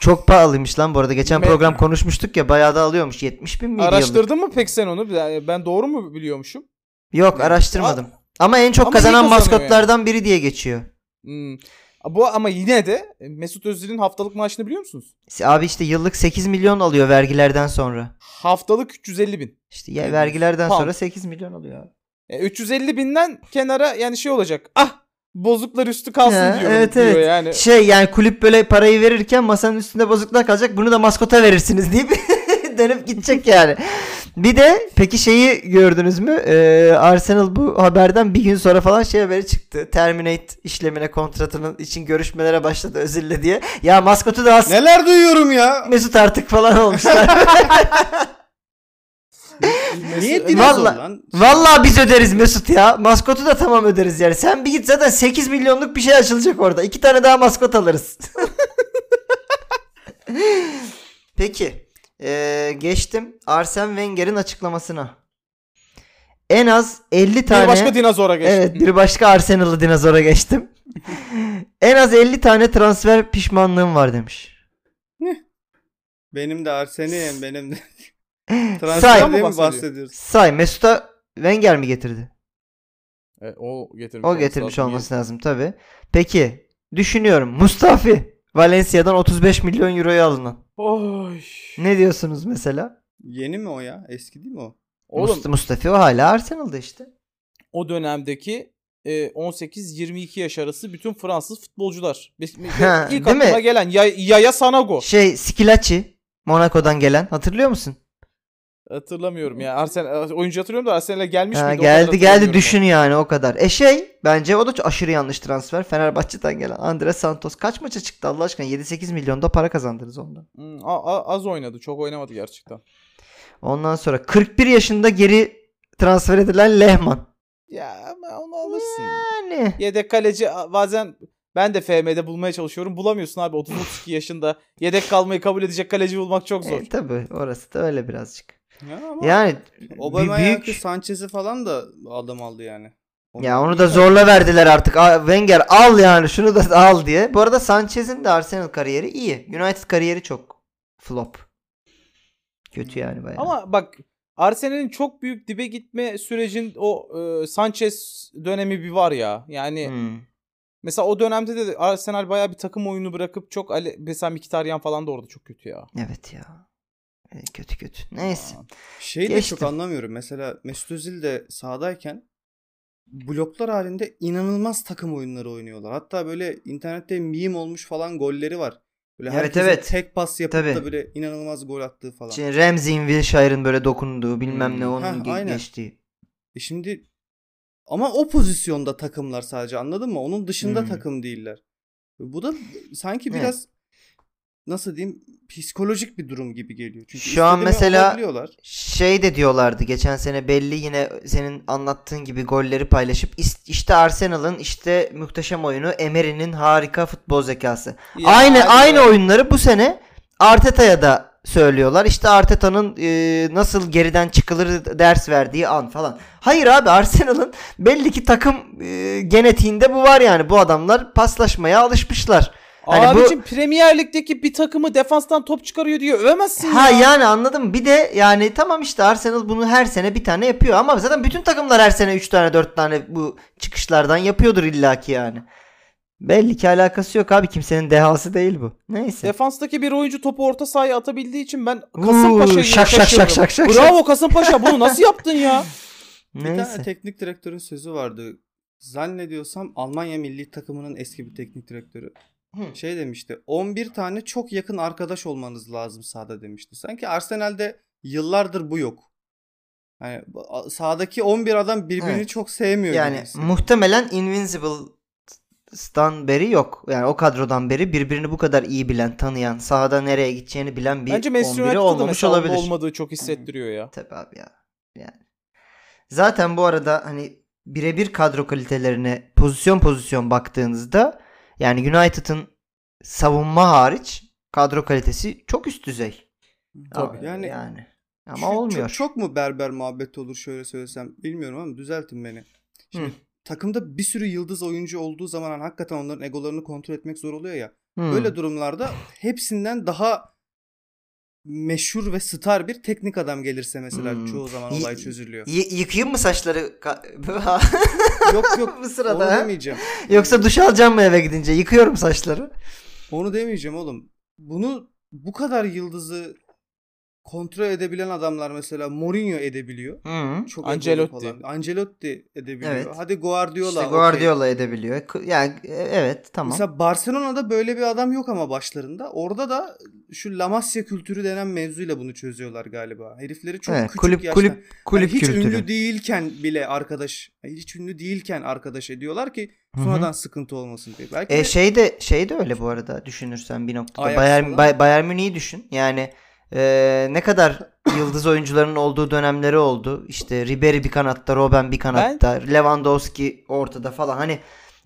S1: Çok pahalıymış lan bu arada. Geçen
S2: Me-
S1: program konuşmuştuk ya bayağı da alıyormuş. 70 bin miydi yıllık?
S2: Araştırdın mı pek sen onu? Yani Ben doğru mu biliyormuşum?
S1: Yok araştırmadım. Ama en çok
S2: Ama iyi
S1: kazanan
S2: kazanıyor
S1: maskotlardan biri diye geçiyor.
S2: Hmm. Bu ama yine de Mesut Özil'in haftalık maaşını biliyor musunuz?
S1: Abi işte yıllık 8 milyon alıyor vergilerden sonra.
S2: Haftalık 350 bin.
S1: İşte ya vergilerden
S2: Pound.
S1: sonra 8 milyon alıyor abi.
S2: E, 350 binden kenara yani şey olacak. Ah bozuklar üstü kalsın
S1: Ha,
S2: diyorum
S1: evet,
S2: diyor
S1: evet.
S2: yani.
S1: Şey yani kulüp böyle parayı verirken masanın üstünde bozuklar kalacak. Bunu da maskota verirsiniz deyip <laughs> dönüp gidecek yani. Bir de peki şeyi gördünüz mü? Ee, Arsenal bu haberden bir gün sonra falan şey haberi çıktı. Terminate işlemine kontratının için görüşmelere başladı Özil'le diye. Ya maskotu da as
S3: Neler duyuyorum ya?
S1: Mesut artık falan olmuşlar.
S3: Niye
S2: Mesut-
S3: dinozor
S1: Valla-
S3: lan?
S1: Vallahi biz öderiz Mesut ya. Maskotu da tamam öderiz yani. Sen bir git zaten 8 milyonluk bir şey açılacak orada. İki tane daha maskot alırız. <laughs> Peki. Ee, geçtim Arsene Wenger'in açıklamasına. en az 50 tane
S2: Bir başka dinozora geçti.
S1: Evet bir başka Arsenal'lı dinozora geçtim. <laughs> en az 50 tane transfer pişmanlığım var demiş.
S3: Benim de Arsenal'im benim de.
S1: Say.
S3: Transferden mi
S2: Bahsediyor.
S3: bahsediyoruz?
S1: Say Mesut'a Wenger mi getirdi?
S2: E, o getirmiş,
S1: O
S2: olması
S1: getirmiş
S2: lazım.
S1: olması lazım tabi. Peki düşünüyorum Mustafi Valencia'dan 35 milyon euroya alınan.
S2: Oy.
S1: Ne diyorsunuz mesela?
S3: Yeni mi o ya? Eski değil mi o?
S2: Oğlum
S1: Must- Mustafi o hala Arsenal'da işte.
S2: o dönemdeki e, 18-22 yaş arası bütün Fransız futbolcular. Biz- ilk
S1: Ha, değil
S2: aklıma
S1: mi?
S2: gelen Yay- Yaya Sanago.
S1: Şey Skilacci Monaco'dan gelen hatırlıyor musun?
S2: Hatırlamıyorum ya. Arsenal oyuncu hatırlıyorum da Arsenal'e gelmiş
S1: Ha,
S2: miydi? O kadar
S1: geldi geldi
S2: hatırlamıyorum
S1: düşün yani o kadar. E şey bence o da çok aşırı yanlış transfer. Fenerbahçe'den gelen Andres Santos kaç maça çıktı Allah aşkına 7-8 milyon da para kazandınız ondan.
S2: ama. Hmm, a- a- az oynadı. Çok oynamadı gerçekten.
S1: Ondan sonra 41 yaşında geri transfer edilen Lehman.
S2: Ya ama onu alırsın.
S1: Yani
S2: Yedek kaleci a- bazen ben de FM'de bulmaya çalışıyorum. Bulamıyorsun abi 30-32 yaşında. Yedek kalmayı kabul edecek kaleci bulmak çok zor.
S1: e, tabii orası da öyle birazcık.
S3: Ya ama
S1: Yani
S3: Aubameyang'ı,
S1: büyük-
S3: Sanchez'i falan da adam aldı yani.
S1: ya onu da zorla verdiler artık. A- Wenger al yani şunu da <laughs> al diye. Bu arada Sanchez'in de Arsenal kariyeri iyi. United kariyeri çok flop. Kötü yani bayağı.
S2: Ama bak Arsenal'in çok büyük dibe gitme sürecin o e, Sanchez dönemi bir var ya. Yani
S1: Hmm.
S2: mesela o dönemde de Arsenal bayağı bir takım oyunu bırakıp çok ale- mesela Mkhitaryan falan da orada çok kötü ya.
S1: Evet ya. E, Kötü kötü. Neyse.
S3: Şeyi Şey de
S1: Geçtim.
S3: çok anlamıyorum. Mesela Mesut Özil de sahadayken bloklar halinde inanılmaz takım oyunları oynuyorlar. Hatta böyle internette meme olmuş falan golleri var. Böyle
S1: Evet,
S3: herkesin
S1: evet.
S3: tek pas yapıp
S1: Tabii.
S3: da böyle inanılmaz gol attığı falan.
S1: Şimdi Ramsey Wilshire'ın böyle dokunduğu bilmem ne
S3: Hmm.
S1: onun
S3: Heh,
S1: ge-
S3: aynen.
S1: geçtiği.
S3: E şimdi ama o pozisyonda takımlar sadece anladın mı? Onun dışında
S1: Hmm.
S3: takım değiller. E Bu da sanki
S1: Evet.
S3: biraz nasıl diyeyim psikolojik bir durum gibi geliyor. Çünkü
S1: Şu an
S3: istediğini
S1: mesela-
S3: alabiliyorlar.
S1: Şey de diyorlardı geçen sene belli yine senin anlattığın gibi golleri paylaşıp is- işte Arsenal'ın işte muhteşem oyunu Emery'nin harika futbol zekası.
S2: Ya
S1: aynı
S2: hadi
S1: aynı
S2: be.
S1: oyunları bu sene Arteta'ya da söylüyorlar. İşte Arteta'nın e, nasıl geriden çıkılır ders verdiği an falan. Hayır abi Arsenal'ın belli ki takım e, genetiğinde bu var yani. Bu adamlar paslaşmaya alışmışlar. Hani bu-
S2: Abicim Premier Lig'deki bir takımı defanstan top çıkarıyor diye övemezsin
S1: Ha
S2: ya.
S1: yani anladım. Bir de yani tamam işte Arsenal bunu her sene bir tane yapıyor ama zaten bütün takımlar her sene 3 tane 4 tane bu çıkışlardan yapıyordur illaki yani. Belli ki alakası yok abi kimsenin dehası değil bu. Neyse.
S2: Defanstaki bir oyuncu topu orta sahaya atabildiği için ben
S1: Uuu,
S2: Kasımpaşa'yı
S1: şak, şak, şak, şak, şak, şak.
S2: Bravo Kasımpaşa bunu nasıl yaptın ya?
S3: Bir
S1: Neyse.
S3: tane teknik direktörün sözü vardı. Zannediyorsam Almanya milli takımının eski bir teknik direktörü.
S1: Hı.
S3: Şey demişti. 11 tane çok yakın arkadaş olmanız lazım sahada demişti. Sanki Arsenal'de yıllardır bu yok. Yani bu- a- sahadaki 11 adam birbirini
S1: Evet.
S3: çok sevmiyor.
S1: Yani
S3: gibisi.
S1: muhtemelen Invincible'dan beri yok. Yani o kadrodan beri birbirini bu kadar iyi bilen, tanıyan, sahada nereye gideceğini bilen <laughs> bir
S2: Bence Manchester
S1: 11'i
S2: United'da da
S1: olmamış
S2: mesela
S1: olabilir.
S2: olabilir. olmadığı çok hissettiriyor ya.
S1: Tabii abi ya. Yani. Zaten bu arada hani birebir kadro kalitelerine pozisyon pozisyon baktığınızda yani United'ın savunma hariç kadro kalitesi çok üst düzey.
S3: Tabii.
S1: Yani,
S3: Yani-
S1: yani. ama
S3: Şu-
S1: olmuyor.
S3: Çok, çok mu berber muhabbet olur şöyle söylesem bilmiyorum ama düzeltin beni. Şimdi
S1: Hı.
S3: takımda bir sürü yıldız oyuncu olduğu zaman hani hakikaten onların egolarını kontrol etmek zor oluyor ya.
S1: Hmm.
S3: Böyle durumlarda hepsinden daha meşhur ve star bir teknik adam gelirse mesela
S1: Hmm.
S3: çoğu zaman
S1: Y-
S3: olay çözülüyor.
S1: Y- yıkayayım mı saçları ka- <laughs>
S3: yok yok
S1: bu <laughs>
S3: onu
S1: sırada? ha?
S3: demeyeceğim.
S1: Yoksa duş alacağım mı eve gidince? Yıkıyorum saçları.
S3: Onu demeyeceğim oğlum. Bunu bu kadar yıldızı kontrol edebilen adamlar mesela Mourinho edebiliyor.
S1: Hı.
S3: Çok
S2: Ancelotti.
S3: egolu falan. Ancelotti edebiliyor.
S1: Evet.
S3: Hadi Guardiola.
S1: İşte
S3: okey.
S1: Guardiola edebiliyor. K- Yani e, evet tamam.
S3: Mesela Barcelona'da böyle bir adam yok ama başlarında. Orada da şu La Masia kültürü denen mevzuyla bunu çözüyorlar galiba. Herifleri çok
S1: Evet,
S3: küçük
S1: kulüp
S3: yaştan.
S1: kulüp kulüp
S3: Yani hiç
S1: kültürü.
S3: ünlü değilken bile arkadaş, hiç ünlü değilken arkadaş ediyorlar ki
S1: Hı hı.
S3: sonradan sıkıntı olmasın diye. Belki
S1: E
S3: de-
S1: şey de şey de öyle bu arada düşünürsen bir noktada.
S3: Ajax
S1: Bayern
S3: falan.
S1: Bay, Bayern Münih'i düşün. Yani e, ne
S3: <coughs>
S1: kadar yıldız oyuncuların olduğu dönemleri oldu. İşte Ribery bir kanatta, Robben bir kanatta, Lewandowski ortada falan. Hani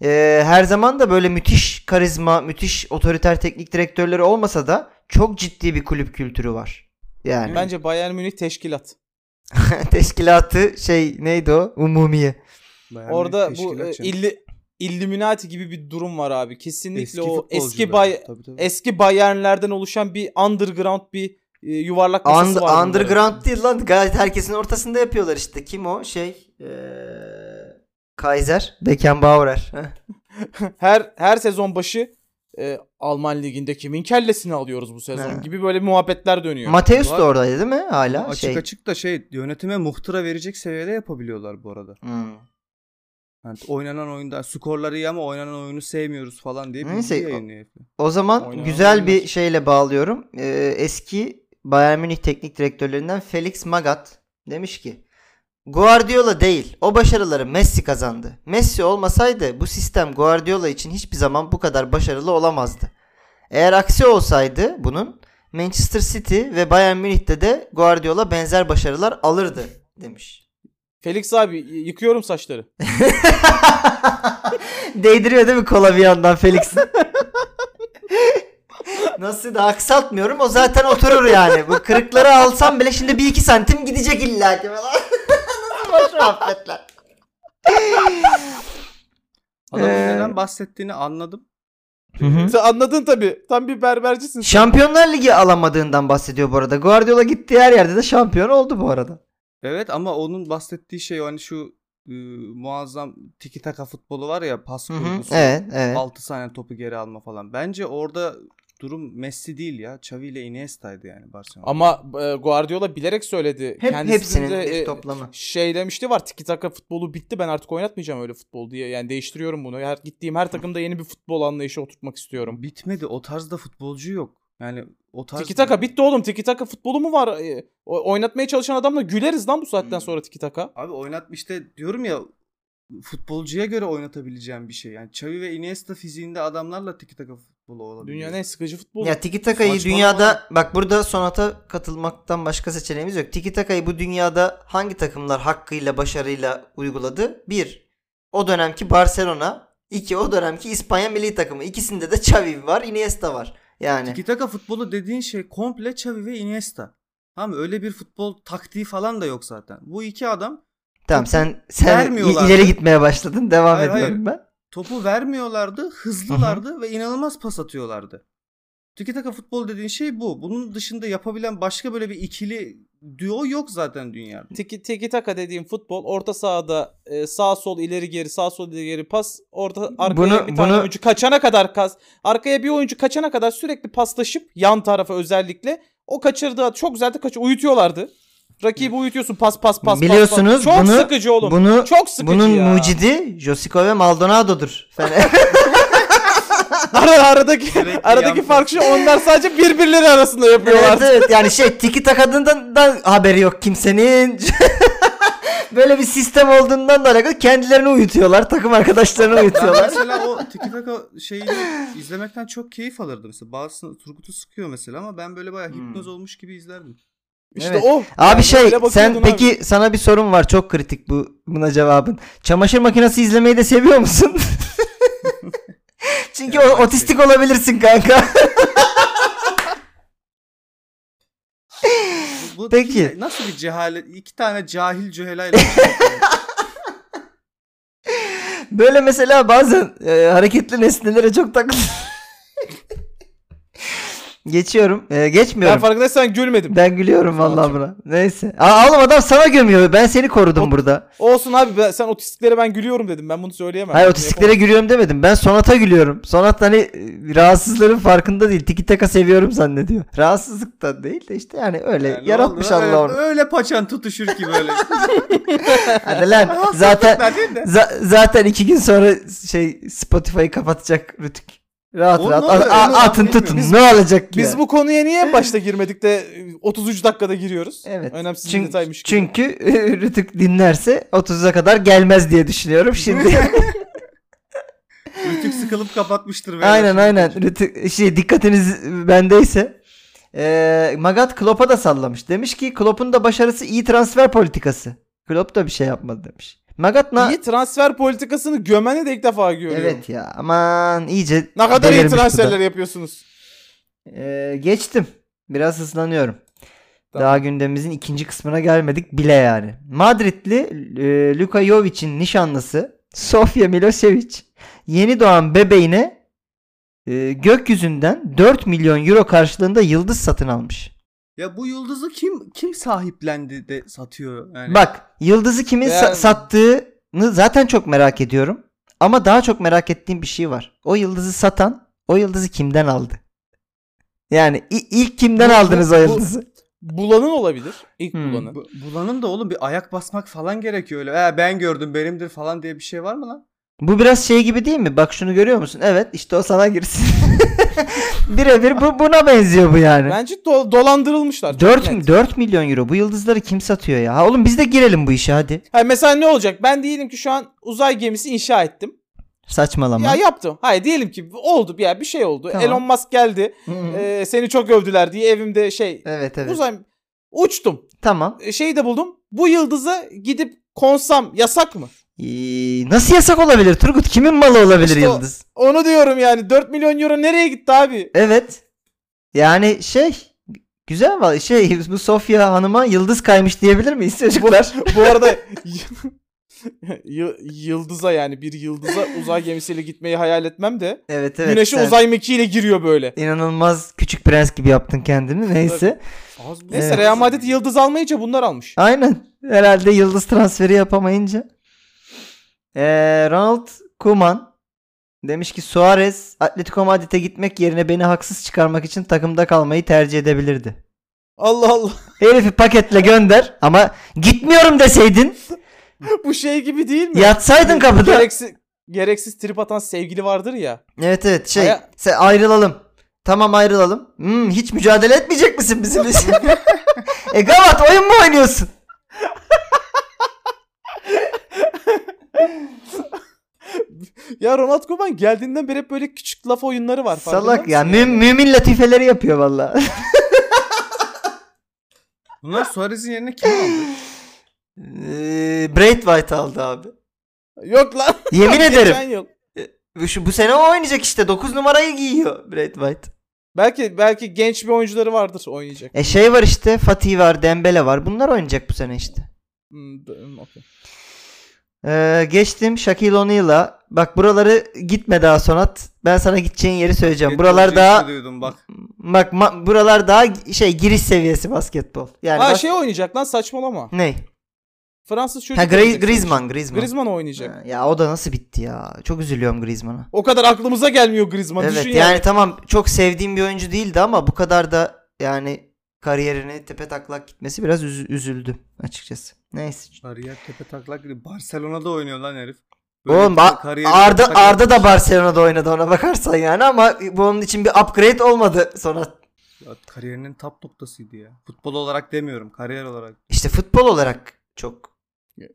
S1: e, her zaman da böyle müthiş karizma, müthiş otoriter teknik direktörleri olmasa da çok ciddi bir kulüp kültürü var. Yani
S2: Bence Bayern Münih teşkilat.
S1: <laughs> Teşkilatı şey neydi o? Umumiye.
S3: Bayağı büyük
S2: Orada bu
S3: teşkilat
S2: e,
S3: canım.
S2: illi, Illuminati gibi bir durum var abi. Kesinlikle o eski
S3: futbolcular.
S2: bay
S3: Tabii, tabii.
S2: eski bayernlerden oluşan bir underground bir e, yuvarlak masası
S1: Und-
S2: var. bunların.
S1: underground değil lan. Gayet herkesin ortasında yapıyorlar işte. Kim o? Şey ee, Kaiser. Beckenbauer. Heh.
S2: Her her sezon başı e, Alman liginde kimin kellesini alıyoruz bu sezon
S1: He.
S2: gibi böyle muhabbetler dönüyor.
S1: Mateus
S3: Var.
S1: da oradaydı değil mi? Hala
S3: açık
S1: şey.
S3: açık da şey yönetime muhtıra verecek seviyede yapabiliyorlar bu arada.
S1: Hmm.
S3: Yani oynanan oyunda skorları iyi ama oynanan oyunu sevmiyoruz falan diye bilgi
S1: Neyse,
S3: yayınlıyor. herifler.
S1: O zaman
S2: Oynanan
S1: güzel bir
S2: oyunlar.
S1: şeyle bağlıyorum. Ee, eski Bayern Münih teknik direktörlerinden Felix Magath demiş ki Guardiola değil. O başarıları Messi kazandı. Messi olmasaydı bu sistem Guardiola için hiçbir zaman bu kadar başarılı olamazdı. Eğer aksi olsaydı bunun Manchester City ve Bayern Münih'te de Guardiola benzer başarılar alırdı demiş.
S2: Felix abi y- yıkıyorum saçları.
S1: Değdiriyor değil mi kola bir yandan Felix'in? Nasıl da aksatmıyorum o zaten oturur yani. Bu kırıkları alsam bile şimdi bir iki santim gidecek illa ki falan. <laughs> Nasıl boş muhabbetler.
S3: Adamın
S1: Ee,
S3: neden bahsettiğini anladım.
S2: Sen anladın tabii. Tam bir berbercisin. sen.
S1: Şampiyonlar Ligi alamadığından bahsediyor bu arada. Guardiola gittiği her yerde de şampiyon oldu bu arada.
S3: Evet ama onun bahsettiği şey hani şu e, muazzam tiki taka futbolu var ya pas
S1: Hı hı.
S3: kurgusu.
S1: Evet, evet.
S3: 6 saniye topu geri alma falan. Bence orada durum Messi değil ya. Xavi ile Iniesta'ydı yani Barcelona.
S2: Ama e, Guardiola bilerek söyledi.
S1: Hep,
S2: Kendisi
S1: hepsinin
S2: de,
S1: bir
S2: e,
S1: toplamı.
S2: şey demişti var tiki taka futbolu bitti ben artık oynatmayacağım öyle futbol diye. Yani değiştiriyorum bunu. Her gittiğim her takımda yeni bir futbol anlayışı oturtmak istiyorum.
S3: Bitmedi. O tarzda futbolcu yok. Yani o tarz
S2: Tiki taka bitti oğlum. Tiki taka futbolu mu var? E, o- oynatmaya çalışan adamla güleriz lan bu saatten
S3: Hmm.
S2: sonra tiki taka.
S3: Abi oynat işte diyorum ya futbolcuya göre oynatabileceğim bir şey. Yani Xavi ve Iniesta fiziğinde adamlarla tiki taka futbolu olabilir.
S2: Dünyanın en sıkıcı futbolu.
S1: Ya Tiki Taka'yı
S3: Saçmalama.
S1: dünyada bak burada Sonat'a katılmaktan başka seçeneğimiz yok. Tiki Taka'yı bu dünyada hangi takımlar hakkıyla başarıyla uyguladı? Bir, o dönemki Barcelona. iki o dönemki İspanya milli takımı. İkisinde de Xavi var, Iniesta var. Yani
S3: Tiki taka futbolu dediğin şey komple Xavi ve Iniesta. Tamam mı? öyle bir futbol taktiği falan da yok zaten. Bu iki adam
S1: tamam sen sen i-
S3: Vermiyorlar.
S1: ileri gitmeye başladın. Devam
S3: Hayır,
S1: ediyorum ben.
S3: topu vermiyorlardı, hızlılardı ve inanılmaz pas atıyorlardı. Tiki taka futbol dediğin şey bu. Bunun dışında yapabilen başka böyle bir ikili düo yok zaten dünyada.
S2: Tiki, tiki taka dediğim futbol orta sahada e, sağ sol ileri geri sağ sol ileri geri pas orta arkaya
S1: Bunu-
S2: bir tane
S1: bunu-
S2: oyuncu kaçana kadar kas arkaya bir oyuncu kaçana kadar sürekli paslaşıp yan tarafa özellikle o kaçırdığı çok güzel de kaçı uyutuyorlardı. Rakibi uyutuyorsun pas pas pas pas,
S1: Biliyorsunuz
S2: pas. Çok
S1: bunu-
S2: sıkıcı oğlum.
S1: Bunu
S2: çok sıkıcı
S1: bunun
S2: ya.
S1: mucidi Josico ve Maldonado'dur. Fener-
S2: <laughs> Ara, aradaki
S3: Sürekli
S2: aradaki
S3: yan
S2: fark şu onlar sadece birbirleri arasında
S1: Evet,
S2: yapıyorlar.
S1: evet. yani şey tiki takadığından da haberi yok kimsenin. <laughs> Böyle bir sistem olduğundan da alakalı kendilerini uyutuyorlar. Takım arkadaşlarını
S3: Ben
S1: uyutuyorlar.
S3: mesela o tiki taka şeyini izlemekten çok keyif alırdım. Mesela bazısını Turgut'u sıkıyor mesela ama ben böyle bayağı
S1: Hmm.
S3: hipnoz olmuş gibi izlerdim.
S2: İşte oh,
S1: Evet.
S2: o.
S1: Abi
S2: Yani
S1: şey
S2: öyle
S1: sen
S2: bakıyordun abi.
S1: peki sana bir sorun var çok kritik bu buna cevabın. Çamaşır makinesi izlemeyi de seviyor musun? <laughs> Çünkü
S3: Evet,
S1: o-
S3: bak
S1: otistik
S2: şey-
S1: olabilirsin kanka.
S3: Bu, bu
S1: Peki.
S3: nasıl bir cehalet? İki tane cahil cühelayla. şey
S1: <laughs> Böyle mesela bazen e, hareketli nesnelere çok takıl. <laughs> Geçiyorum. E, geçmiyorum.
S2: Ben farkındaysan gülmedim.
S1: Ben gülüyorum vallahi
S2: Fatih.
S1: buna. Neyse. Aa, oğlum adam sana gömüyor. Ben seni korudum
S2: Ot-
S1: burada.
S2: Olsun abi ben, sen otistiklere ben gülüyorum dedim. Ben bunu söyleyemem.
S1: Hayır
S2: Bunu
S1: otistiklere gülüyorum demedim. Ben Sonat'a gülüyorum. Sonat hani e, rahatsızların farkında değil. Tiki taka seviyorum zannediyor. Rahatsızlık da değil de işte yani öyle
S3: Yani ne
S1: yaratmış
S3: oldu?
S1: Allah onu.
S3: Öyle, öyle paçan tutuşur
S1: <laughs>
S3: ki böyle.
S1: Hadi
S3: <laughs>
S1: lan zaten
S3: Ben değil de.
S1: za- zaten iki gün sonra şey Spotify'ı kapatacak Rütük. Rahat
S3: Oğlum
S1: rahat
S3: ne oluyor?
S1: A- a-
S3: Onu
S1: atın
S3: bilmiyorum.
S1: tutun
S2: Biz-
S1: ne olacak ki?
S2: Biz
S1: yani?
S2: bu konuya niye <laughs> en başta girmedik de e, 33 dakikada giriyoruz?
S1: Evet.
S2: Önemsiz bir
S1: Çünkü-
S2: detaymış. gibi.
S1: Çünkü <laughs> e, Rütük dinlerse 30'a kadar gelmez diye düşünüyorum
S3: <laughs>
S1: şimdi.
S3: Rütük sıkılıp kapatmıştır. böyle.
S1: Aynen aynen. Rütü- şey dikkatiniz bendeyse. Ee, Magat Klopp'a da sallamış. Demiş ki Klopp'un da başarısı iyi transfer politikası. Klopp da bir şey yapmadı demiş. Magat na
S2: İyi transfer politikasını gömeni de ilk defa görüyorum.
S1: Evet ya aman iyice
S2: Ne kadar iyi
S1: delirmiş bu da.
S2: transferler yapıyorsunuz.
S1: Ee, geçtim. Biraz hızlanıyorum.
S2: Tamam.
S1: Daha gündemimizin ikinci kısmına gelmedik bile yani. Madridli e, Luka Jovic'in nişanlısı Sofia Milosevic yeni doğan bebeğine e, gökyüzünden 4 milyon euro karşılığında yıldız satın almış.
S3: Ya bu yıldızı kim kim sahiplendi de satıyor yani.
S1: Bak yıldızı kimin sa-
S2: Veya-
S1: sattığını zaten çok merak ediyorum. Ama daha çok merak ettiğim bir şey var. O yıldızı satan o yıldızı kimden aldı? Yani i- ilk kimden
S2: Bu- bu-
S1: aldınız o
S2: bu-
S1: yıldızı?
S2: Bulanın olabilir. İlk
S1: Hmm.
S2: bulanın.
S3: Bu- bulanın da oğlum bir ayak basmak falan gerekiyor öyle. "Ee, ben gördüm benimdir falan diye bir şey var mı lan?
S1: Bu biraz şey gibi değil mi? Bak şunu görüyor musun? Evet işte o sana girsin. <laughs> Birebir bu buna benziyor bu yani.
S2: Bence do- dolandırılmışlar. çok
S1: 4,
S2: net.
S1: 4 milyon euro. Bu yıldızları kim satıyor ya? Ha, oğlum biz de girelim bu işe hadi.
S2: Ha, mesela ne olacak? Ben diyelim ki şu an uzay gemisi inşa ettim.
S1: Saçmalama.
S2: Ya yaptım. Hayır diyelim ki oldu bir yer bir şey oldu.
S1: Tamam.
S2: Elon Musk geldi.
S1: Hı hı.
S2: Ee, seni çok övdüler diye evimde şey
S1: evet evet.
S2: uzay uçtum.
S1: Tamam.
S2: Ee, Şeyi de buldum. Bu yıldıza gidip konsam yasak mı?
S1: Ee, nasıl yasak olabilir Turgut? Kimin malı olabilir
S2: İşte o-
S1: yıldız?
S2: Onu diyorum yani 4 milyon euro nereye gitti abi?
S1: Evet. Yani şey güzel var. Şey bu Sofya Hanım'a yıldız kaymış diyebilir miyiz çocuklar?
S2: Bu arada <laughs> y- yıldıza yani bir yıldıza uzay gemisiyle gitmeyi hayal etmem de
S1: evet evet.
S2: güneşe
S1: sen
S2: uzay mekiğiyle giriyor böyle.
S1: İnanılmaz küçük prens gibi yaptın kendini. Neyse.
S3: Az bu.
S2: Neyse
S1: Evet.
S2: Real Madrid yıldız almayınca bunlar almış.
S1: Aynen. Herhalde yıldız transferi yapamayınca. Ee, Ronald Koeman demiş ki Suarez Atletico Madrid'e gitmek yerine beni haksız çıkarmak için takımda kalmayı tercih edebilirdi.
S2: Allah Allah. <laughs>
S1: Herifi paketle gönder ama gitmiyorum deseydin
S2: Bu şey gibi değil mi?
S1: yatsaydın kapıda.
S2: Gereksiz, gereksiz trip atan sevgili vardır ya.
S1: Evet evet şey
S2: Aya-
S1: sen ayrılalım. Tamam ayrılalım. Hmm, hiç mücadele etmeyecek misin bizimle? e Gavat oyun mu oynuyorsun?
S2: Ya Ronald Koeman geldiğinden beri hep böyle küçük laf oyunları var. farkında
S1: Salak
S2: mısın
S1: ya. Mü- mümin latifeleri yapıyor valla.
S3: <laughs> Bunlar Suarez'in yerine kim aldı?
S1: Eee, Braith White aldı abi.
S2: Yok lan.
S1: Yemin ederim.
S2: <laughs> Geçen yıl.
S1: Bu, şu, bu sene o oynayacak işte. 9 numarayı giyiyor Braith White.
S2: Belki belki genç bir oyuncuları vardır oynayacak.
S1: E şey var işte. Fatih var. Dembele var. Bunlar oynayacak bu sene işte.
S2: Hmm, d- hmm, okey.
S1: Ee, geçtim Shaquille O'Neal'a. Bak buraları gitme daha sonat. Ben sana gideceğin yeri söyleyeceğim. Buralar
S3: Götürücü
S1: daha
S3: ismi duydum bak.
S1: Bak ma- buralar daha gi- şey giriş seviyesi basketbol. Yani
S2: ha
S1: bas-
S2: şey oynayacak lan saçmalama.
S1: ne?
S2: Fransız çocuk.
S1: Ha Gri-
S2: oynayacak.
S1: Griezmann, Griezmann.
S2: Griezmann oynayacak.
S1: Ha, Ya o da nasıl bitti ya? Çok üzülüyorum Griezmann'a.
S2: O kadar aklımıza gelmiyor Griezmann.
S1: Evet
S2: Düşün
S1: yani, tamam çok sevdiğim bir oyuncu değildi ama bu kadar da yani kariyerine tepe taklak gitmesi biraz üz- üzüldüm açıkçası. Neyse.
S3: Kariyer tepe taklak gibi. Barcelona'da oynuyor lan herif.
S1: Oğlum
S3: bir
S1: Ba-
S3: kariyeri
S1: Arda
S3: tepe taklak-
S1: Arda da Barcelona'da oynadı ona bakarsan yani ama bu onun için bir upgrade olmadı sonra.
S3: Ya kariyerinin top noktasıydı ya. Futbol olarak demiyorum, kariyer olarak.
S1: İşte futbol olarak çok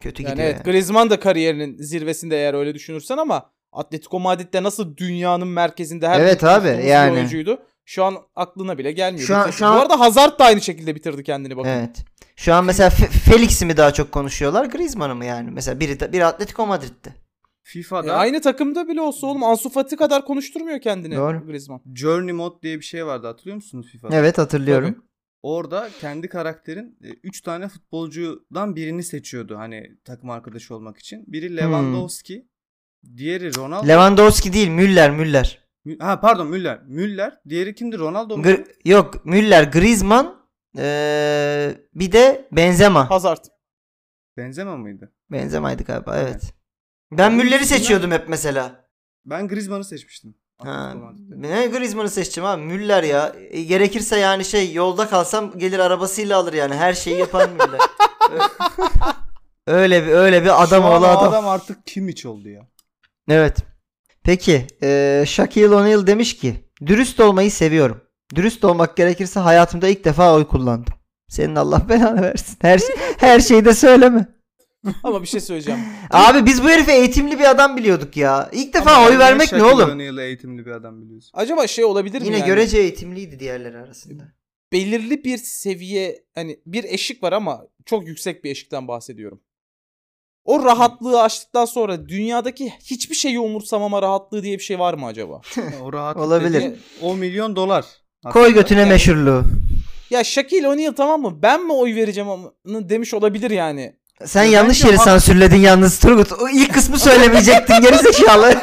S1: kötü
S2: Yani
S1: gidiyor.
S2: evet
S1: yani.
S2: Griezmann da kariyerinin zirvesinde eğer öyle düşünürsen ama Atletico Madrid'de nasıl dünyanın merkezinde her
S1: Evet
S2: gün
S1: abi,
S2: konuştuğumuz bir
S1: yani.
S2: oyuncuydu. Şu an aklına bile gelmiyor.
S1: Şu an-
S2: Bitirdi.
S1: şu an-
S2: Bu arada Hazard da aynı şekilde bitirdi kendini bakın.
S1: Evet. Şu an mesela Fe- Felix'i mi daha çok konuşuyorlar Griezmann'ı mı yani? Mesela biri, de- biri Atletico Madrid'de.
S3: FIFA'da
S2: E, aynı takımda bile olsa oğlum Ansu Fati kadar konuşturmuyor kendini
S1: Doğru.
S2: Griezmann.
S3: Journey Mode diye bir şey vardı hatırlıyor musunuz FIFA'da?
S1: Evet hatırlıyorum.
S3: Orada kendi karakterin 3 tane futbolcudan birini seçiyordu hani takım arkadaşı olmak için.
S1: Hmm.
S3: Biri Lewandowski, diğeri Ronaldo.
S1: Lewandowski değil Müller Müller.
S3: Mü- ha pardon Müller. Müller, diğeri kimdi? Ronaldo mu?
S1: Gr- yok Müller Griezmann ee, bir de Benzema.
S2: Hazard.
S3: Benzema mıydı?
S1: Benzema'ydı galiba evet. Ben Müller'i seçiyordum hep mesela.
S3: Ben Griezmann'ı seçmiştim.
S1: Ha,
S3: Atletico Madrid'de.
S1: ne Griezmann'ı seçtim abi Müller ya. E, gerekirse yani şey yolda kalsam gelir arabasıyla alır yani her şeyi yapan Müller. <laughs> Ö- öyle bir öyle bir adam
S3: Şu an
S1: oğlu
S3: o
S1: adam.
S3: adam artık kim iç oldu ya?
S1: Evet. Peki eee Shaquille O'Neal demiş ki dürüst olmayı seviyorum. Dürüst olmak gerekirse hayatımda ilk defa oy kullandım. Senin Allah belanı versin. Her, şey- her şeyi de söyleme.
S2: Ama bir şey
S1: <laughs>
S2: söyleyeceğim.
S1: Abi biz bu herifi eğitimli bir adam biliyorduk ya. İlk defa
S3: Ama
S1: oy
S3: niye
S1: vermek ne
S3: Shaquille
S1: oğlum?
S3: O'Neal'ı eğitimli bir
S1: <laughs>
S3: adam biliyorsun.
S2: Acaba şey olabilir mi
S1: Yine
S2: yani?
S1: görece eğitimliydi diğerleri arasında.
S2: Belirli bir seviye hani bir eşik var ama çok yüksek bir eşikten bahsediyorum. O rahatlığı aştıktan sonra dünyadaki hiçbir şeyi umursamama rahatlığı diye bir şey var mı acaba?
S3: o rahat
S1: Olabilir.
S3: dediğin 10 milyon dolar.
S1: Koy götüne meşhurluğu.
S2: Ya Shaquille O'Neal tamam mı? Ben mi oy vereceğim onu demiş olabilir yani.
S1: Sen
S3: Ya
S1: yanlış
S3: bence
S1: yeri
S3: hak-
S1: sansürledin yalnız Turgut. O ilk kısmı
S3: <laughs>
S1: söylemeyecektin gerizekalı.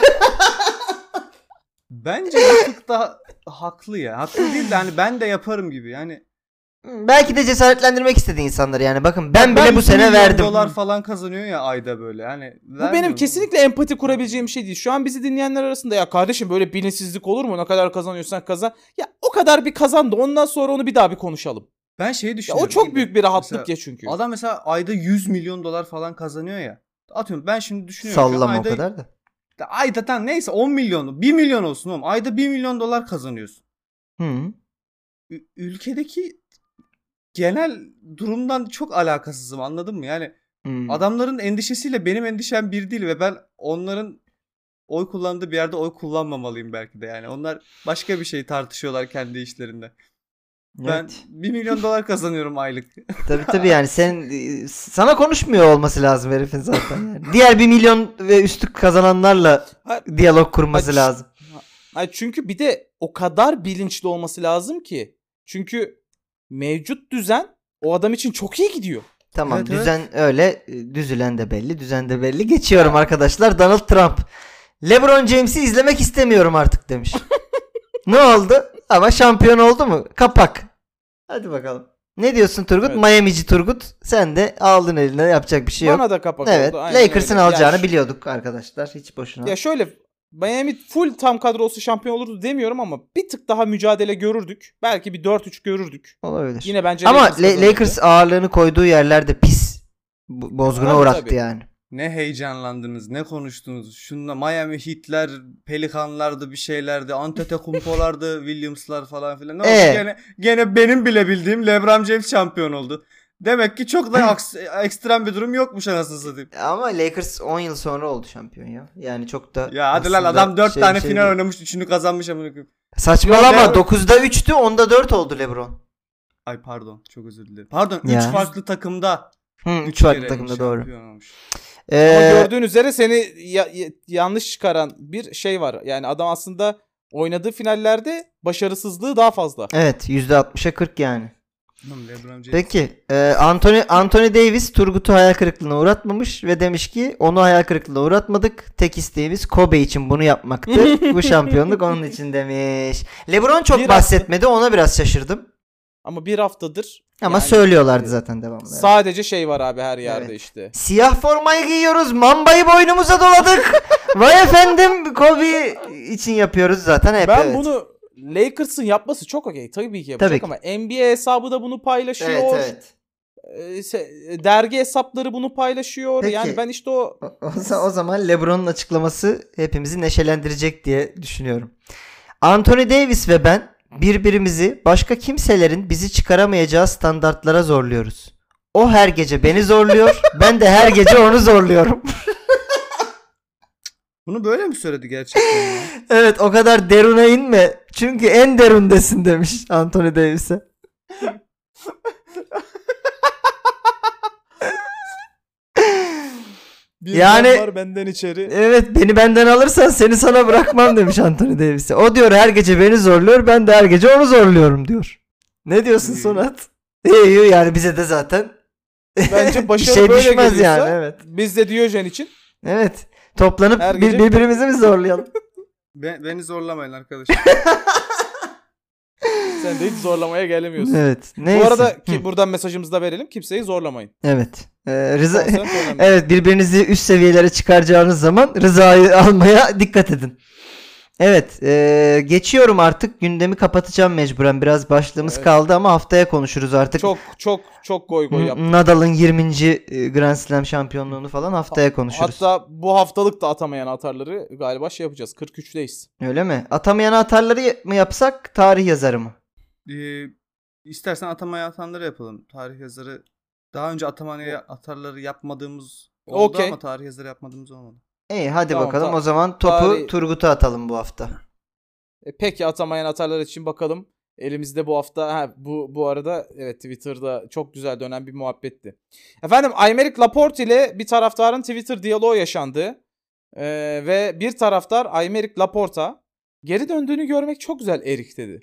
S3: Bence Rafık da haklı ya. Haklı değil de hani ben de yaparım gibi. Yani
S1: Belki de cesaretlendirmek istedi insanları yani. Bakın ben,
S3: Ben
S1: bile bu
S3: iki
S1: sene
S3: milyon
S1: verdim.
S3: dolar falan kazanıyor ya ayda böyle. Hani Yani
S2: Bu benim kesinlikle empati kurabileceğim bir şey değil. Şu an bizi dinleyenler arasında ya kardeşim böyle bilinçsizlik olur mu? Ne kadar kazanıyorsan kazan. Ya o kadar bir kazan da ondan sonra onu bir daha bir konuşalım.
S3: Ben şeyi
S2: Ya
S3: düşünüyorum.
S2: o çok büyük bir şey. rahatlık
S3: Mesela
S2: ya çünkü.
S3: Adam mesela ayda 100 milyon dolar falan kazanıyor ya. Atıyorum ben şimdi düşünüyorum. ki
S1: Sallama
S3: ayda,
S1: o kadar da.
S3: Ayda tam neyse 10 milyon, 1 milyon olsun oğlum. Ayda 1 milyon dolar kazanıyorsun.
S1: Hı.
S3: Ü- ülkedeki genel durumdan çok alakasızım anladın mı? Yani
S1: Hı.
S3: adamların endişesiyle benim endişem bir değil ve ben onların oy kullandığı bir yerde oy kullanmamalıyım belki de yani. Onlar başka bir şey tartışıyorlar kendi işlerinde. Ben
S1: Evet.
S3: 1 milyon dolar kazanıyorum aylık.
S1: Tabii
S3: <laughs>
S1: tabii yani sen e, sana konuşmuyor olması lazım herifin zaten. Yani. Diğer 1 milyon ve üstü kazananlarla
S2: Ha-
S1: diyalog kurması
S2: Aç-
S1: lazım.
S2: Hayır, çünkü bir de o kadar bilinçli olması lazım ki. Çünkü mevcut düzen o adam için çok iyi gidiyor.
S1: Tamam
S3: Evet, evet.
S1: düzen öyle e, düzülen de belli düzen de belli. Geçiyorum arkadaşlar Donald Trump. LeBron James'i izlemek istemiyorum artık
S3: <laughs>
S1: demiş. ne oldu? Ama şampiyon oldu mu? Kapak. Hadi bakalım. Ne diyorsun Turgut?
S2: Evet.
S1: Miami'ci Turgut. Sen de aldın eline yapacak bir şey yok.
S2: Bana da kapak
S1: evet.
S2: oldu. aynen
S1: Lakers'ın
S2: öyle. Ya
S1: alacağını
S2: şu-
S1: biliyorduk arkadaşlar. Hiç boşuna.
S2: Ya şöyle Miami full tam kadrosu şampiyon olurdu demiyorum ama bir tık daha mücadele görürdük. Belki bir 4-3 görürdük.
S1: Olabilir.
S2: Yine bence
S1: Ama
S2: Lakers
S1: La-
S2: kazanırdı.
S1: Lakers ağırlığını koyduğu yerlerde pis bo- bozguna
S2: Tabii,
S1: uğrattı
S2: tabii.
S1: yani.
S3: Ne heyecanlandınız, ne konuştunuz. Şunla Miami Heat'ler, Pelikanlardı bir şeylerdi, Antetokounmpo'lardı, <laughs> Williams'lar falan filan. Ne oldu?
S1: Ee?
S3: Gene, gene benim bile bildiğim LeBron James şampiyon oldu. Demek ki çok
S1: <laughs>
S3: da aks- ekstrem bir durum yokmuş anasını satayım.
S1: Ama Lakers 10 yıl sonra oldu şampiyon ya. Yani çok da
S3: Ya hadi lan
S1: aslında
S3: adam 4
S1: şey-
S3: tane
S1: şey
S3: final
S1: değil.
S3: oynamış, 3'ünü kazanmış amına koyayım.
S1: Saçmalama.
S3: Yok,
S1: 9'da 3'tü, 10'da 4 oldu LeBron.
S3: Ay pardon, çok özür dilerim. Pardon, 3
S1: Ya.
S3: farklı takımda.
S1: Hı,
S3: üç
S1: 3 farklı
S3: kere
S1: takımda
S3: şampiyon
S1: doğru.
S3: olmuş.
S2: Ama
S1: Ee,
S2: gördüğün üzere seni ya- ya- yanlış çıkaran bir şey var. Yani adam aslında oynadığı finallerde başarısızlığı daha fazla.
S1: evet, %60'a 40 yani.
S3: Oğlum LeBron James.
S1: Peki, e, Anthony Anthony Davis Turgut'u hayal kırıklığına uğratmamış ve demiş ki onu hayal kırıklığına uğratmadık. Tek isteğimiz Kobe için bunu
S2: <laughs>
S1: yapmaktı. Bu şampiyonluk onun için demiş. LeBron çok
S2: Bir
S1: bahsetmedi, ona biraz şaşırdım.
S2: Ama bir haftadır
S1: Ama
S2: Yani-
S1: söylüyorlardı zaten devamlı. evet.
S2: sadece şey var abi her yerde
S1: Evet.
S2: işte.
S1: Siyah formayı giyiyoruz. Mambayı boynumuza
S2: <laughs>
S1: doladık. Vay efendim Kobe için yapıyoruz zaten hep.
S2: ben
S1: evet.
S2: bunu Lakers'ın yapması çok okey. Tabii ki yapacak
S1: Tabii ki.
S2: ama NBA hesabı da bunu paylaşıyor.
S1: Evet evet.
S2: Ee, se- dergi hesapları bunu paylaşıyor.
S1: Peki.
S2: Yani ben işte o
S1: O, o za- o zaman LeBron'un açıklaması hepimizi neşelendirecek diye düşünüyorum. Anthony Davis ve ben birbirimizi başka kimselerin bizi çıkaramayacağı standartlara zorluyoruz. O her gece beni zorluyor. <laughs> ben de her gece onu zorluyorum. <laughs>
S3: Bunu böyle mi söyledi gerçekten ya?
S1: evet o kadar deruna inme. Çünkü en derundesin demiş Anthony Davis'e.
S2: bir
S1: Yani-
S2: yani... var benden içeri.
S1: <laughs> Evet beni benden alırsan seni sana bırakmam demiş Anthony Davis'e. O diyor her gece beni zorluyor ben de her gece onu zorluyorum diyor. Ne diyorsun
S3: İyi.
S1: Sonat? İyi iyi yani bize de zaten
S2: Bence
S1: bir
S2: başarı
S1: şey
S2: böyle
S1: düşmez
S2: geliyorsa
S1: yani evet.
S2: biz de Diyojen için
S1: Evet toplanıp
S2: Her
S1: bir-
S2: gece-
S1: birbirimizi mi zorlayalım?
S3: Be- beni zorlamayın arkadaşlar.
S2: sen de hiç zorlamaya gelemiyorsun.
S1: evet neyse.
S2: Bu arada ki
S1: Hı,
S2: buradan mesajımızı da verelim.
S1: <laughs>
S2: Kimseyi zorlamayın.
S1: Evet. Ee, Rıza...
S2: Konsept önemli.
S1: <laughs> evet birbirinizi üst seviyelere çıkaracağınız zaman rızayı almaya dikkat edin. Evet ee, geçiyorum artık gündemi kapatacağım mecburen biraz başlığımız
S2: Evet.
S1: kaldı ama haftaya konuşuruz artık.
S2: Çok çok çok goy goy
S1: N-
S2: yaptı.
S1: Nadal'ın 20. e, Grand Slam şampiyonluğunu falan haftaya konuşuruz.
S2: Hatta bu haftalık da atamayan atarları galiba şey yapacağız. 43'teyiz.
S1: Öyle mi? Atamayan atarları mı yapsak tarih yazarı mı?
S3: Ee, istersen atamaya atanları yapalım. Tarih yazarı daha önce atamaya atarları yapmadığımız oldu
S2: Okey.
S3: ama tarih yazarı yapmadığımız olmadı.
S1: <laughs> İyi hadi
S2: Tamam,
S1: bakalım
S2: ta-
S1: o zaman topu
S2: tarih-
S1: Turgut'a atalım bu hafta.
S2: E, peki atamayan atarlar için bakalım. Elimizde bu hafta ha, bu bu arada evet Twitter'da çok güzel dönen bir muhabbetti. Efendim Aymeric Laporte ile bir taraftarın Twitter diyaloğu yaşandı. E, ve bir taraftar Aymeric Laporte'a geri döndüğünü görmek çok güzel Erik dedi.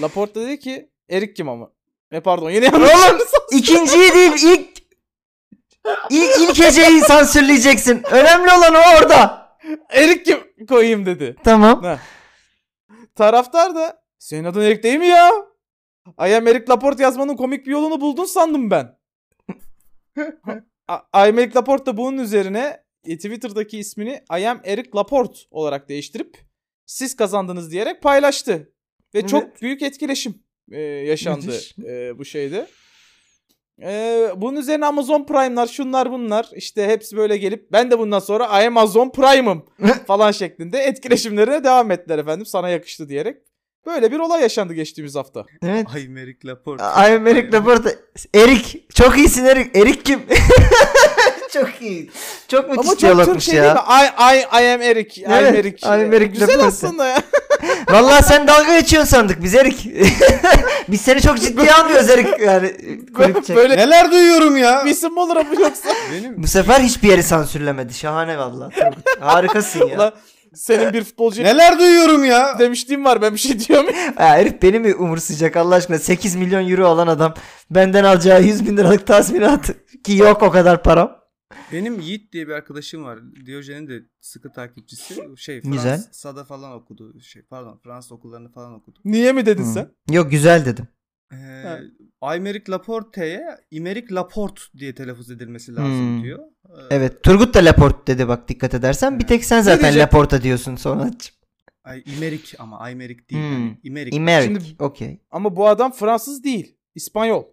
S2: Laporta dedi ki Erik kim ama? E pardon yine yanlış.
S1: Oğlum ikinciyi değil ilk ilk ilk heceyi sansürleyeceksin. Önemli olan o orada.
S2: <laughs> Erik kim koyayım dedi.
S1: Tamam.
S2: Taraftar da senin adın Erik değil mi ya? I am Erik Laporte yazmanın komik bir yolunu buldun sandım ben. A- I am Erik Laporte da bunun üzerine e, Twitter'daki ismini I am Erik Laporte olarak değiştirip siz kazandınız diyerek paylaştı. Ve
S1: Evet.
S2: çok büyük etkileşim e, yaşandı
S1: Müthiş.
S2: e, bu şeyde. E, bunun üzerine Amazon Prime'lar şunlar bunlar işte hepsi böyle gelip ben de bundan sonra I am
S1: <laughs>
S2: Amazon Prime'ım falan şeklinde etkileşimlerine devam ettiler efendim sana yakıştı diyerek. Böyle bir olay yaşandı geçtiğimiz hafta.
S1: Evet.
S3: Ay Merik Laporte.
S1: I'm Eric Laporta. Erik. Çok iyisin Erik. Erik kim? <laughs> çok iyi. Çok müthiş
S2: Ama çok Türk
S1: diyalogmuş
S2: şey değil mi?
S1: ya.
S2: I, I, I am Eric. I am
S1: Evet,
S2: Eric.
S1: I am Eric
S2: Güzel
S1: Laporte.
S2: aslında ya.
S1: Vallahi sen dalga geçiyorsun sandık biz Erik. <laughs> biz seni çok ciddiye almıyoruz Erik. Yani kulüp çek.
S2: Böyle
S3: Neler duyuyorum ya.
S2: bir isim mi olur ama yoksa.
S3: Benim
S1: Bu sefer hiçbir yeri sansürlemedi. Şahane vallahi. Turgut. Harikasın ya.
S2: <laughs> Ulan senin bir futbolcu
S3: neler duyuyorum ya.
S2: demişliğim var ben bir şey diyor muyum?
S1: ya herif beni mi umursayacak Allah aşkına? 8 milyon euro alan adam benden alacağı 100 bin liralık tazminat ki yok o kadar param.
S3: Benim Yiğit diye bir arkadaşım var. Diyojen'in de sıkı takipçisi. Şey
S1: Güzel.
S3: Fransa'da falan okudu. Şey pardon Fransız okullarını falan okudu.
S2: <laughs> Niye mi dedin
S1: Hı.
S2: sen?
S1: Yok güzel dedim.
S3: Ee, Aymeric Laporte'ye Imeric Laporte diye telaffuz edilmesi lazım
S1: Hmm.
S3: diyor. Ee,
S1: Evet Turgut da Laporte dedi bak dikkat edersen. Bir tek sen zaten
S2: diyecektim?
S1: Laporta diyorsun sonra.
S3: Ay, Imeric ama Aymeric değil.
S1: Hmm.
S3: Yani Imeric.
S1: Imeric.
S2: Şimdi-
S1: Okey.
S2: Ama bu adam Fransız değil. İspanyol.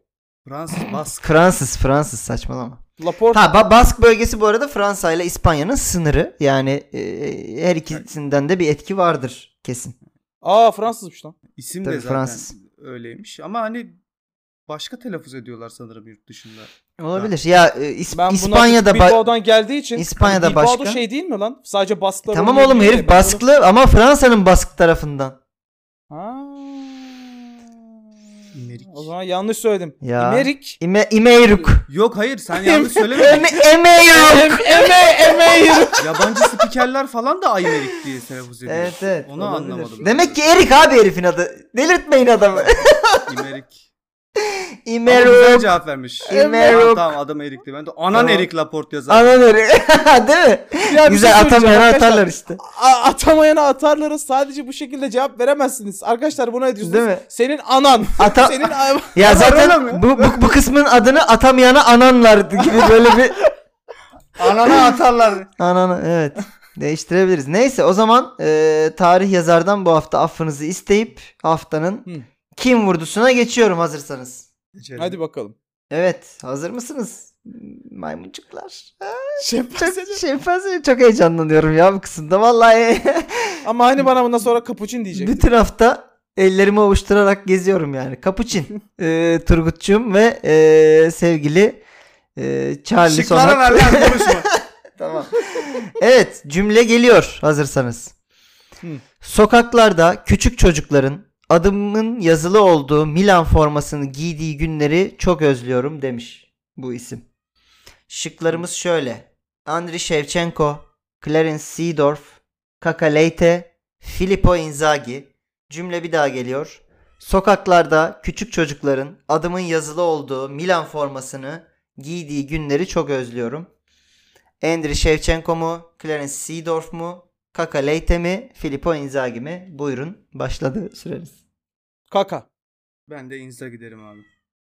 S3: Fransız Bask.
S1: Fransız Fransız saçmalama.
S2: Laporte.
S1: Ha Ba- Bask bölgesi bu arada Fransa ile İspanya'nın sınırı. Yani e, her ikisinden de bir etki vardır kesin.
S2: Aa Fransızmış lan.
S3: İsim
S1: Tabii
S3: de zaten
S1: Fransız.
S3: öyleymiş. Ama hani başka telaffuz ediyorlar sanırım yurt dışında.
S1: Olabilir. Ya e, İs-
S2: Ben
S1: İspanya'da
S2: bunlar
S1: ba-
S2: Bilbao'dan geldiği için.
S1: İspanya'da
S2: Bilbao da
S1: başka.
S2: şey değil mi lan? Sadece Basklar.
S1: Tamam
S2: oynuyor
S1: oğlum
S2: diye.
S1: herif
S2: Ben bunu-
S1: basklı ama Fransa'nın baskı tarafından.
S2: Ha.
S3: İmerik.
S2: O zaman yanlış söyledim.
S1: Ya.
S2: <laughs> İmerik.
S1: İme İmeyruk.
S3: Yok hayır
S1: <laughs>
S3: sen yanlış söylemedin.
S1: Eme- Emeyruk.
S2: Em- Eme Emeir.
S3: Yabancı spikerler falan da Aymeric diye telaffuz ediyor.
S1: Evet evet.
S3: Onu
S1: olabilir.
S3: anlamadım.
S1: Demek ki Erik abi herifin adı. Delirtmeyin adamı.
S3: Imeric. Ama güzel
S1: İmeruk.
S3: cevap vermiş.
S1: Emeruk.
S3: Tamam, tamam adam Erik'ti. Ben de anan
S1: Tamam.
S3: Erik Laporte yazar.
S1: Anan Erik. <laughs> Değil mi? Güzel atamayan atarlar işte.
S2: şey A- atamayana atarlara sadece bu şekilde cevap veremezsiniz. Arkadaşlar buna ne diyorsunuz?
S1: Değil mi?
S2: Senin
S1: <laughs>
S2: anan.
S1: Ata-
S2: Senin a-
S1: ya
S3: öyle mi?
S1: zaten bu, bu, bu kısmın adını atamayana ananlar <laughs> gibi böyle bir
S3: Anana atarlar.
S1: Ananı evet. Değiştirebiliriz. Neyse o zaman e, tarih yazardan bu hafta affınızı isteyip haftanın
S2: Hı.
S1: kim vurdusuna geçiyorum hazırsanız.
S2: <laughs> Hadi bakalım.
S1: Evet hazır mısınız? Maymuncuklar. Ha, Çok,
S2: Şempanze.
S1: şempanze- çok heyecanlanıyorum ya bu kısımda. Vallahi
S2: Ama hani bana bundan sonra kapuçin
S1: <laughs>
S2: diyecek.
S1: bütün hafta ellerimi ovuşturarak geziyorum yani. Kapuçin e, Turgutçum ve e, sevgili e, Charlie
S3: Şıklara ver
S1: Sonat.
S3: lan konuşma.
S1: <laughs> Tamam. evet cümle geliyor hazırsanız.
S2: Hı.
S1: Sokaklarda küçük çocukların adımın yazılı olduğu Milan formasını giydiği günleri çok özlüyorum demiş bu isim. Şıklarımız şöyle. Andriy Shevchenko, Clarence Seedorf, Kaka Leite, Filippo Inzaghi. Cümle bir daha geliyor. Sokaklarda küçük çocukların adımın yazılı olduğu Milan formasını giydiği günleri çok özlüyorum. Andriy Shevchenko mu? Clarence Seedorf mu? Kaka Leite mi? Filippo Inzaghi mi? Buyurun başladı süreniz.
S2: Kaka.
S3: Ben de Insta giderim abi.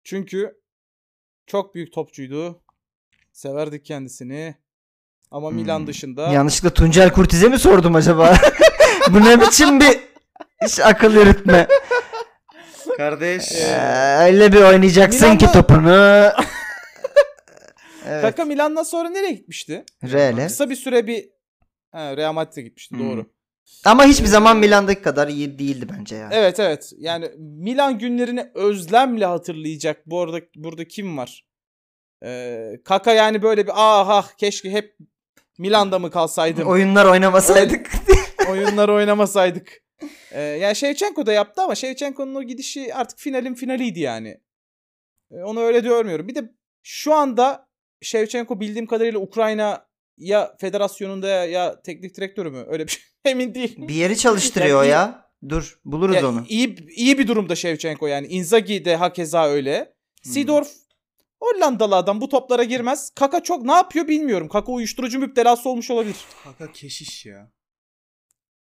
S2: Çünkü çok büyük topçuydu. Severdik kendisini. Ama
S1: Hmm.
S2: Milan dışında
S1: Yanlışlıkla Tuncel Kurtiz'e mi sordum acaba? <laughs> Bu ne biçim bir iş akıl yürütme?
S3: Kardeş.
S1: Ee, öyle bir oynayacaksın
S2: Milan'da-
S1: ki
S2: <laughs>
S1: topunu. evet.
S2: Kaka Milan'dan sonra nereye gitmişti?
S1: Real'e.
S2: Kısa bir süre bir ha, Real Madrid'e gitmişti
S1: Hı.
S2: doğru.
S1: Ama hiçbir zaman Milan'daki kadar iyi değildi bence yani.
S2: Evet evet. Yani Milan günlerini özlemle hatırlayacak. Bu arada burada kim var? Ee, Kaka yani böyle bir ah ah keşke hep Milan'da mı kalsaydım?
S1: Oyunlar
S2: <laughs>
S1: oynamasaydık.
S2: Oyunlar oynamasaydık. Ee, yani Shevchenko da yaptı ama Shevchenko'nun o gidişi artık finalin finaliydi yani. Ee, onu öyle görmüyorum. Bir de şu anda Shevchenko bildiğim kadarıyla Ukrayna ya federasyonunda ya teknik direktörü mü? Öyle bir şey. <laughs> Emin değilim.
S1: bir yeri çalıştırıyor
S2: Yani-
S1: ya. Dur buluruz
S2: Ya,
S1: onu.
S2: iyi, iyi bir durumda Shevchenko yani. Inzaghi de hakeza öyle.
S3: Hmm.
S2: Seedorf Hollandalı adam bu toplara girmez. Kaka çok ne yapıyor bilmiyorum. Kaka uyuşturucu müptelası olmuş olabilir.
S3: Kaka keşiş ya.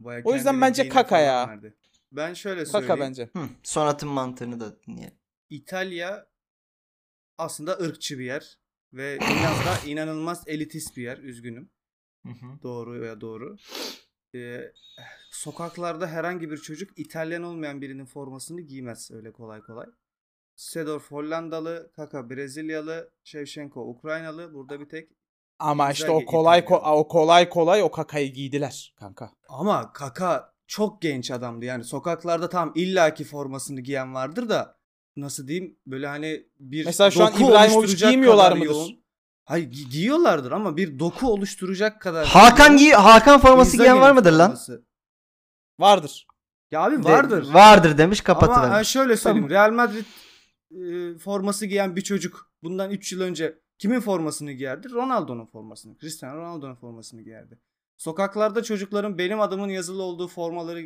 S3: Bayağı
S2: O yüzden
S3: kendine
S2: bence
S3: dine
S2: Kaka
S3: falan
S2: ya.
S3: verdi. Ben şöyle şey söyleyeyim.
S2: Kaka bence.
S1: Hı, sonatın mantığını da dinleyelim.
S3: İtalya aslında ırkçı bir yer ve biraz
S2: <laughs>
S3: da inanılmaz elitist bir yer. Üzgünüm. Doğru veya doğru. Ee, sokaklarda herhangi bir çocuk İtalyan olmayan birinin formasını giymez öyle kolay kolay. Sedorf Hollandalı, Kaka Brezilyalı, Shevchenko Ukraynalı. Burada bir tek
S2: Ama
S3: Güzel
S2: işte o
S3: ge-
S2: kolay
S3: İtalya.
S2: ko- o kolay kolay o kakayı giydiler kanka.
S3: Ama Kaka çok genç adamdı yani sokaklarda tam illaki formasını giyen vardır da nasıl diyeyim böyle hani bir
S2: Mesela şu an
S3: doku
S2: İbrahimovic
S3: oluşturacak
S2: giymiyorlar
S3: kadar
S2: mıdır?
S3: yoğun- Hayır gi- giyiyorlardır ama bir doku oluşturacak kadar.
S1: Hakan
S3: yoğun
S1: giy Hakan forması
S3: Inzaghi'nin
S1: giyen var mıdır lan?
S3: forması.
S2: Vardır.
S3: Ya abi
S1: De-
S3: vardır.
S1: vardır demiş
S3: ama şey- ha,
S1: kapatıvermiş.
S3: şöyle söyleyeyim Real Madrid e, forması giyen bir çocuk bundan 3 yıl önce kimin formasını giyerdi? Ronaldo'nun formasını. Cristiano Ronaldo'nun formasını giyerdi. Sokaklarda çocukların benim adımın yazılı olduğu formaları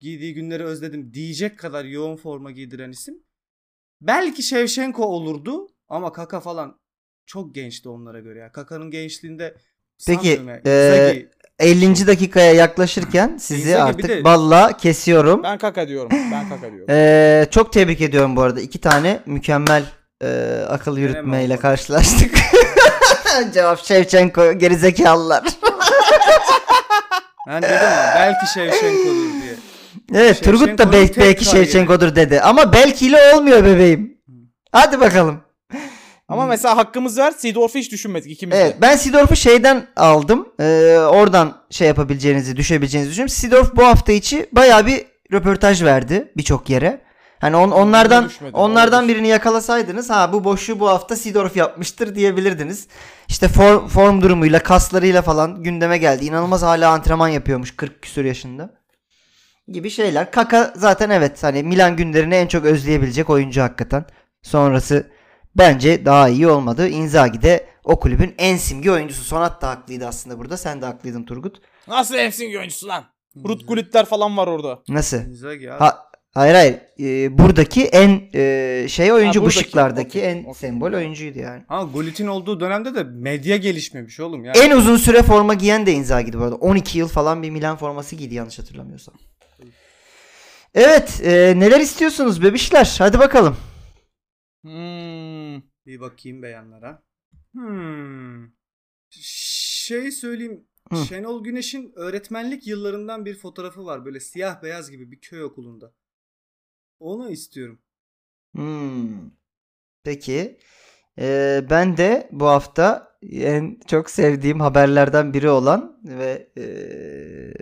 S3: giydiği günleri özledim diyecek kadar yoğun forma giydiren isim. Belki Shevchenko olurdu ama Kaka falan çok gençti onlara göre ya. Kaka'nın gençliğinde
S1: Peki,
S3: Sandrone,
S1: e,
S3: Inzaghi,
S1: 50. dakikaya yaklaşırken sizi
S3: Inzaghi bir
S1: artık
S3: de-
S1: balla kesiyorum.
S2: Ben kaka diyorum. Ben kaka diyorum.
S1: Ee, çok tebrik ediyorum bu arada. İki tane mükemmel e, akıl yürütmeyle
S3: olmadı.
S1: karşılaştık. <laughs> Cevap Şevçenko
S3: <laughs>
S1: gerizekalılar.
S3: ben dedim ama belki Shevchenko'dur diye.
S1: Evet Turgut da
S3: Şevçenko'nun
S1: bel-
S3: tek
S1: belki
S3: kariyeri.
S1: Şevçenko'dur dedi. Ama belkiyle olmuyor bebeğim. Hadi bakalım.
S2: Ama mesela hakkımız var. Seedorf'u hiç düşünmedik ikimiz de.
S1: Evet ben Sidorf'u şeyden aldım. Ee, oradan şey yapabileceğinizi, düşebileceğinizi düşünüyorum. Sidorf bu hafta içi bayağı bir röportaj verdi birçok yere. Hani on, onlardan
S2: düşmedim,
S1: onlardan
S2: olabilir.
S1: birini yakalasaydınız ha bu boşluğu bu hafta Sidorf yapmıştır diyebilirdiniz. İşte form, form durumuyla, kaslarıyla falan gündeme geldi. İnanılmaz hala antrenman yapıyormuş 40 küsur yaşında. Gibi şeyler. Kaka zaten evet hani Milan günlerini en çok özleyebilecek oyuncu hakikaten. Sonrası bence daha iyi olmadı. Inzaghi de o kulübün en simge oyuncusu. Sonat da haklıydı aslında burada. Sen de haklıydın Turgut.
S2: Nasıl emsin oyuncusu lan?
S3: Hmm.
S2: Ruth Gulitler falan var orada.
S1: Nasıl?
S3: Inzaghi abi.
S1: Ha, hayır hayır. Ee, buradaki en e, şey oyuncu
S2: Ha, buradaki.
S1: Bışıklar'daki
S2: Okey,
S1: en
S2: okey.
S1: sembol oyuncuydu yani.
S3: Ama Gullit'in olduğu dönemde de medya gelişmemiş oğlum. Yani
S1: En uzun süre forma giyen de Inzaghi'di bu arada. 12 yıl falan bir Milan forması giydi yanlış hatırlamıyorsam. Evet, e, neler istiyorsunuz bebişler? Hadi bakalım.
S2: Hmm.
S3: Bir bakayım beyanlara. Hmm. Şey söyleyeyim.
S1: Hı.
S3: Şenol Güneş'in öğretmenlik yıllarından bir fotoğrafı var. Böyle siyah beyaz gibi bir köy okulunda. Onu istiyorum.
S1: Hmm. Peki. Ee, ben de bu hafta en çok sevdiğim haberlerden biri olan ve ee,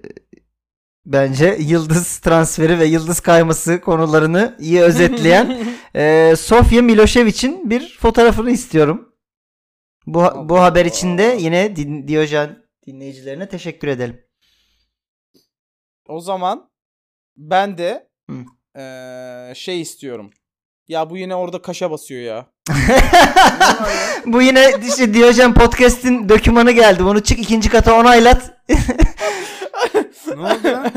S1: bence yıldız transferi ve yıldız kayması konularını iyi özetleyen
S2: <laughs>
S1: ee, Sofya Milošević'in bir fotoğrafını istiyorum. Bu ha- bu haber için de yine din, Diyojen dinleyicilerine teşekkür edelim.
S2: O zaman ben de
S1: Hı.
S2: eee, şey istiyorum. Ya bu yine orada kaşa basıyor ya.
S1: Bu yine işte Diyojen podcast'in dokümanı geldi. Bunu çık ikinci kata onaylat.
S3: Ne oldu lan?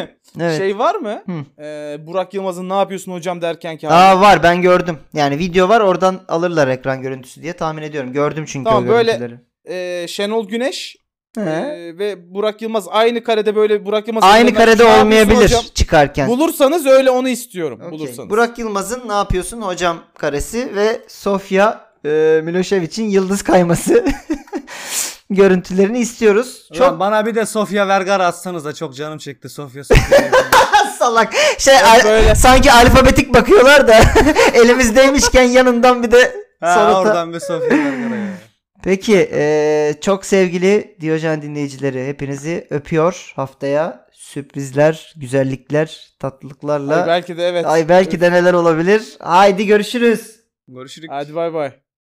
S2: <laughs>
S1: Evet.
S2: Şey var mı?
S1: Hı.
S2: Eee, Burak Yılmaz'ın ne yapıyorsun hocam derken ki. abi-
S1: Aa var ben gördüm. Yani video var oradan alırlar ekran görüntüsü diye tahmin ediyorum. Gördüm çünkü
S2: Tamam,
S1: o
S2: böyle-
S1: görüntüleri.
S2: Eee, Şenol Güneş
S1: He.
S2: eee, Ee, ve Burak Yılmaz aynı karede böyle Burak Yılmaz
S1: Aynı
S2: elinden
S1: karede
S2: "Ne yapıyorsun
S1: olmayabilir
S2: hocam?"
S1: çıkarken.
S2: Bulursanız öyle onu istiyorum.
S1: Okey.
S2: Bulursanız.
S1: Burak Yılmaz'ın ne yapıyorsun hocam karesi ve Sofya e, Milošević'in yıldız kayması <laughs> görüntülerini istiyoruz.
S3: Çok...
S1: Çok
S3: bana bir de Sofia Vergara atsanız da çok canım çekti. Sofia Sofia.
S1: salak. Şey al-
S2: böyle-
S1: sanki alfabetik bakıyorlar da <laughs> elimizdeymişken yanından bir de
S3: ha,
S1: sonata-
S3: oradan bir Sofia Vergara. ya.
S1: Peki e, çok sevgili Diyojen dinleyicileri hepinizi öpüyor. Haftaya sürprizler, güzellikler, tatlılıklarla.
S2: Ay belki de evet.
S1: Ay belki de neler olabilir. Haydi görüşürüz.
S3: Görüşürüz.
S2: Hadi bay bay.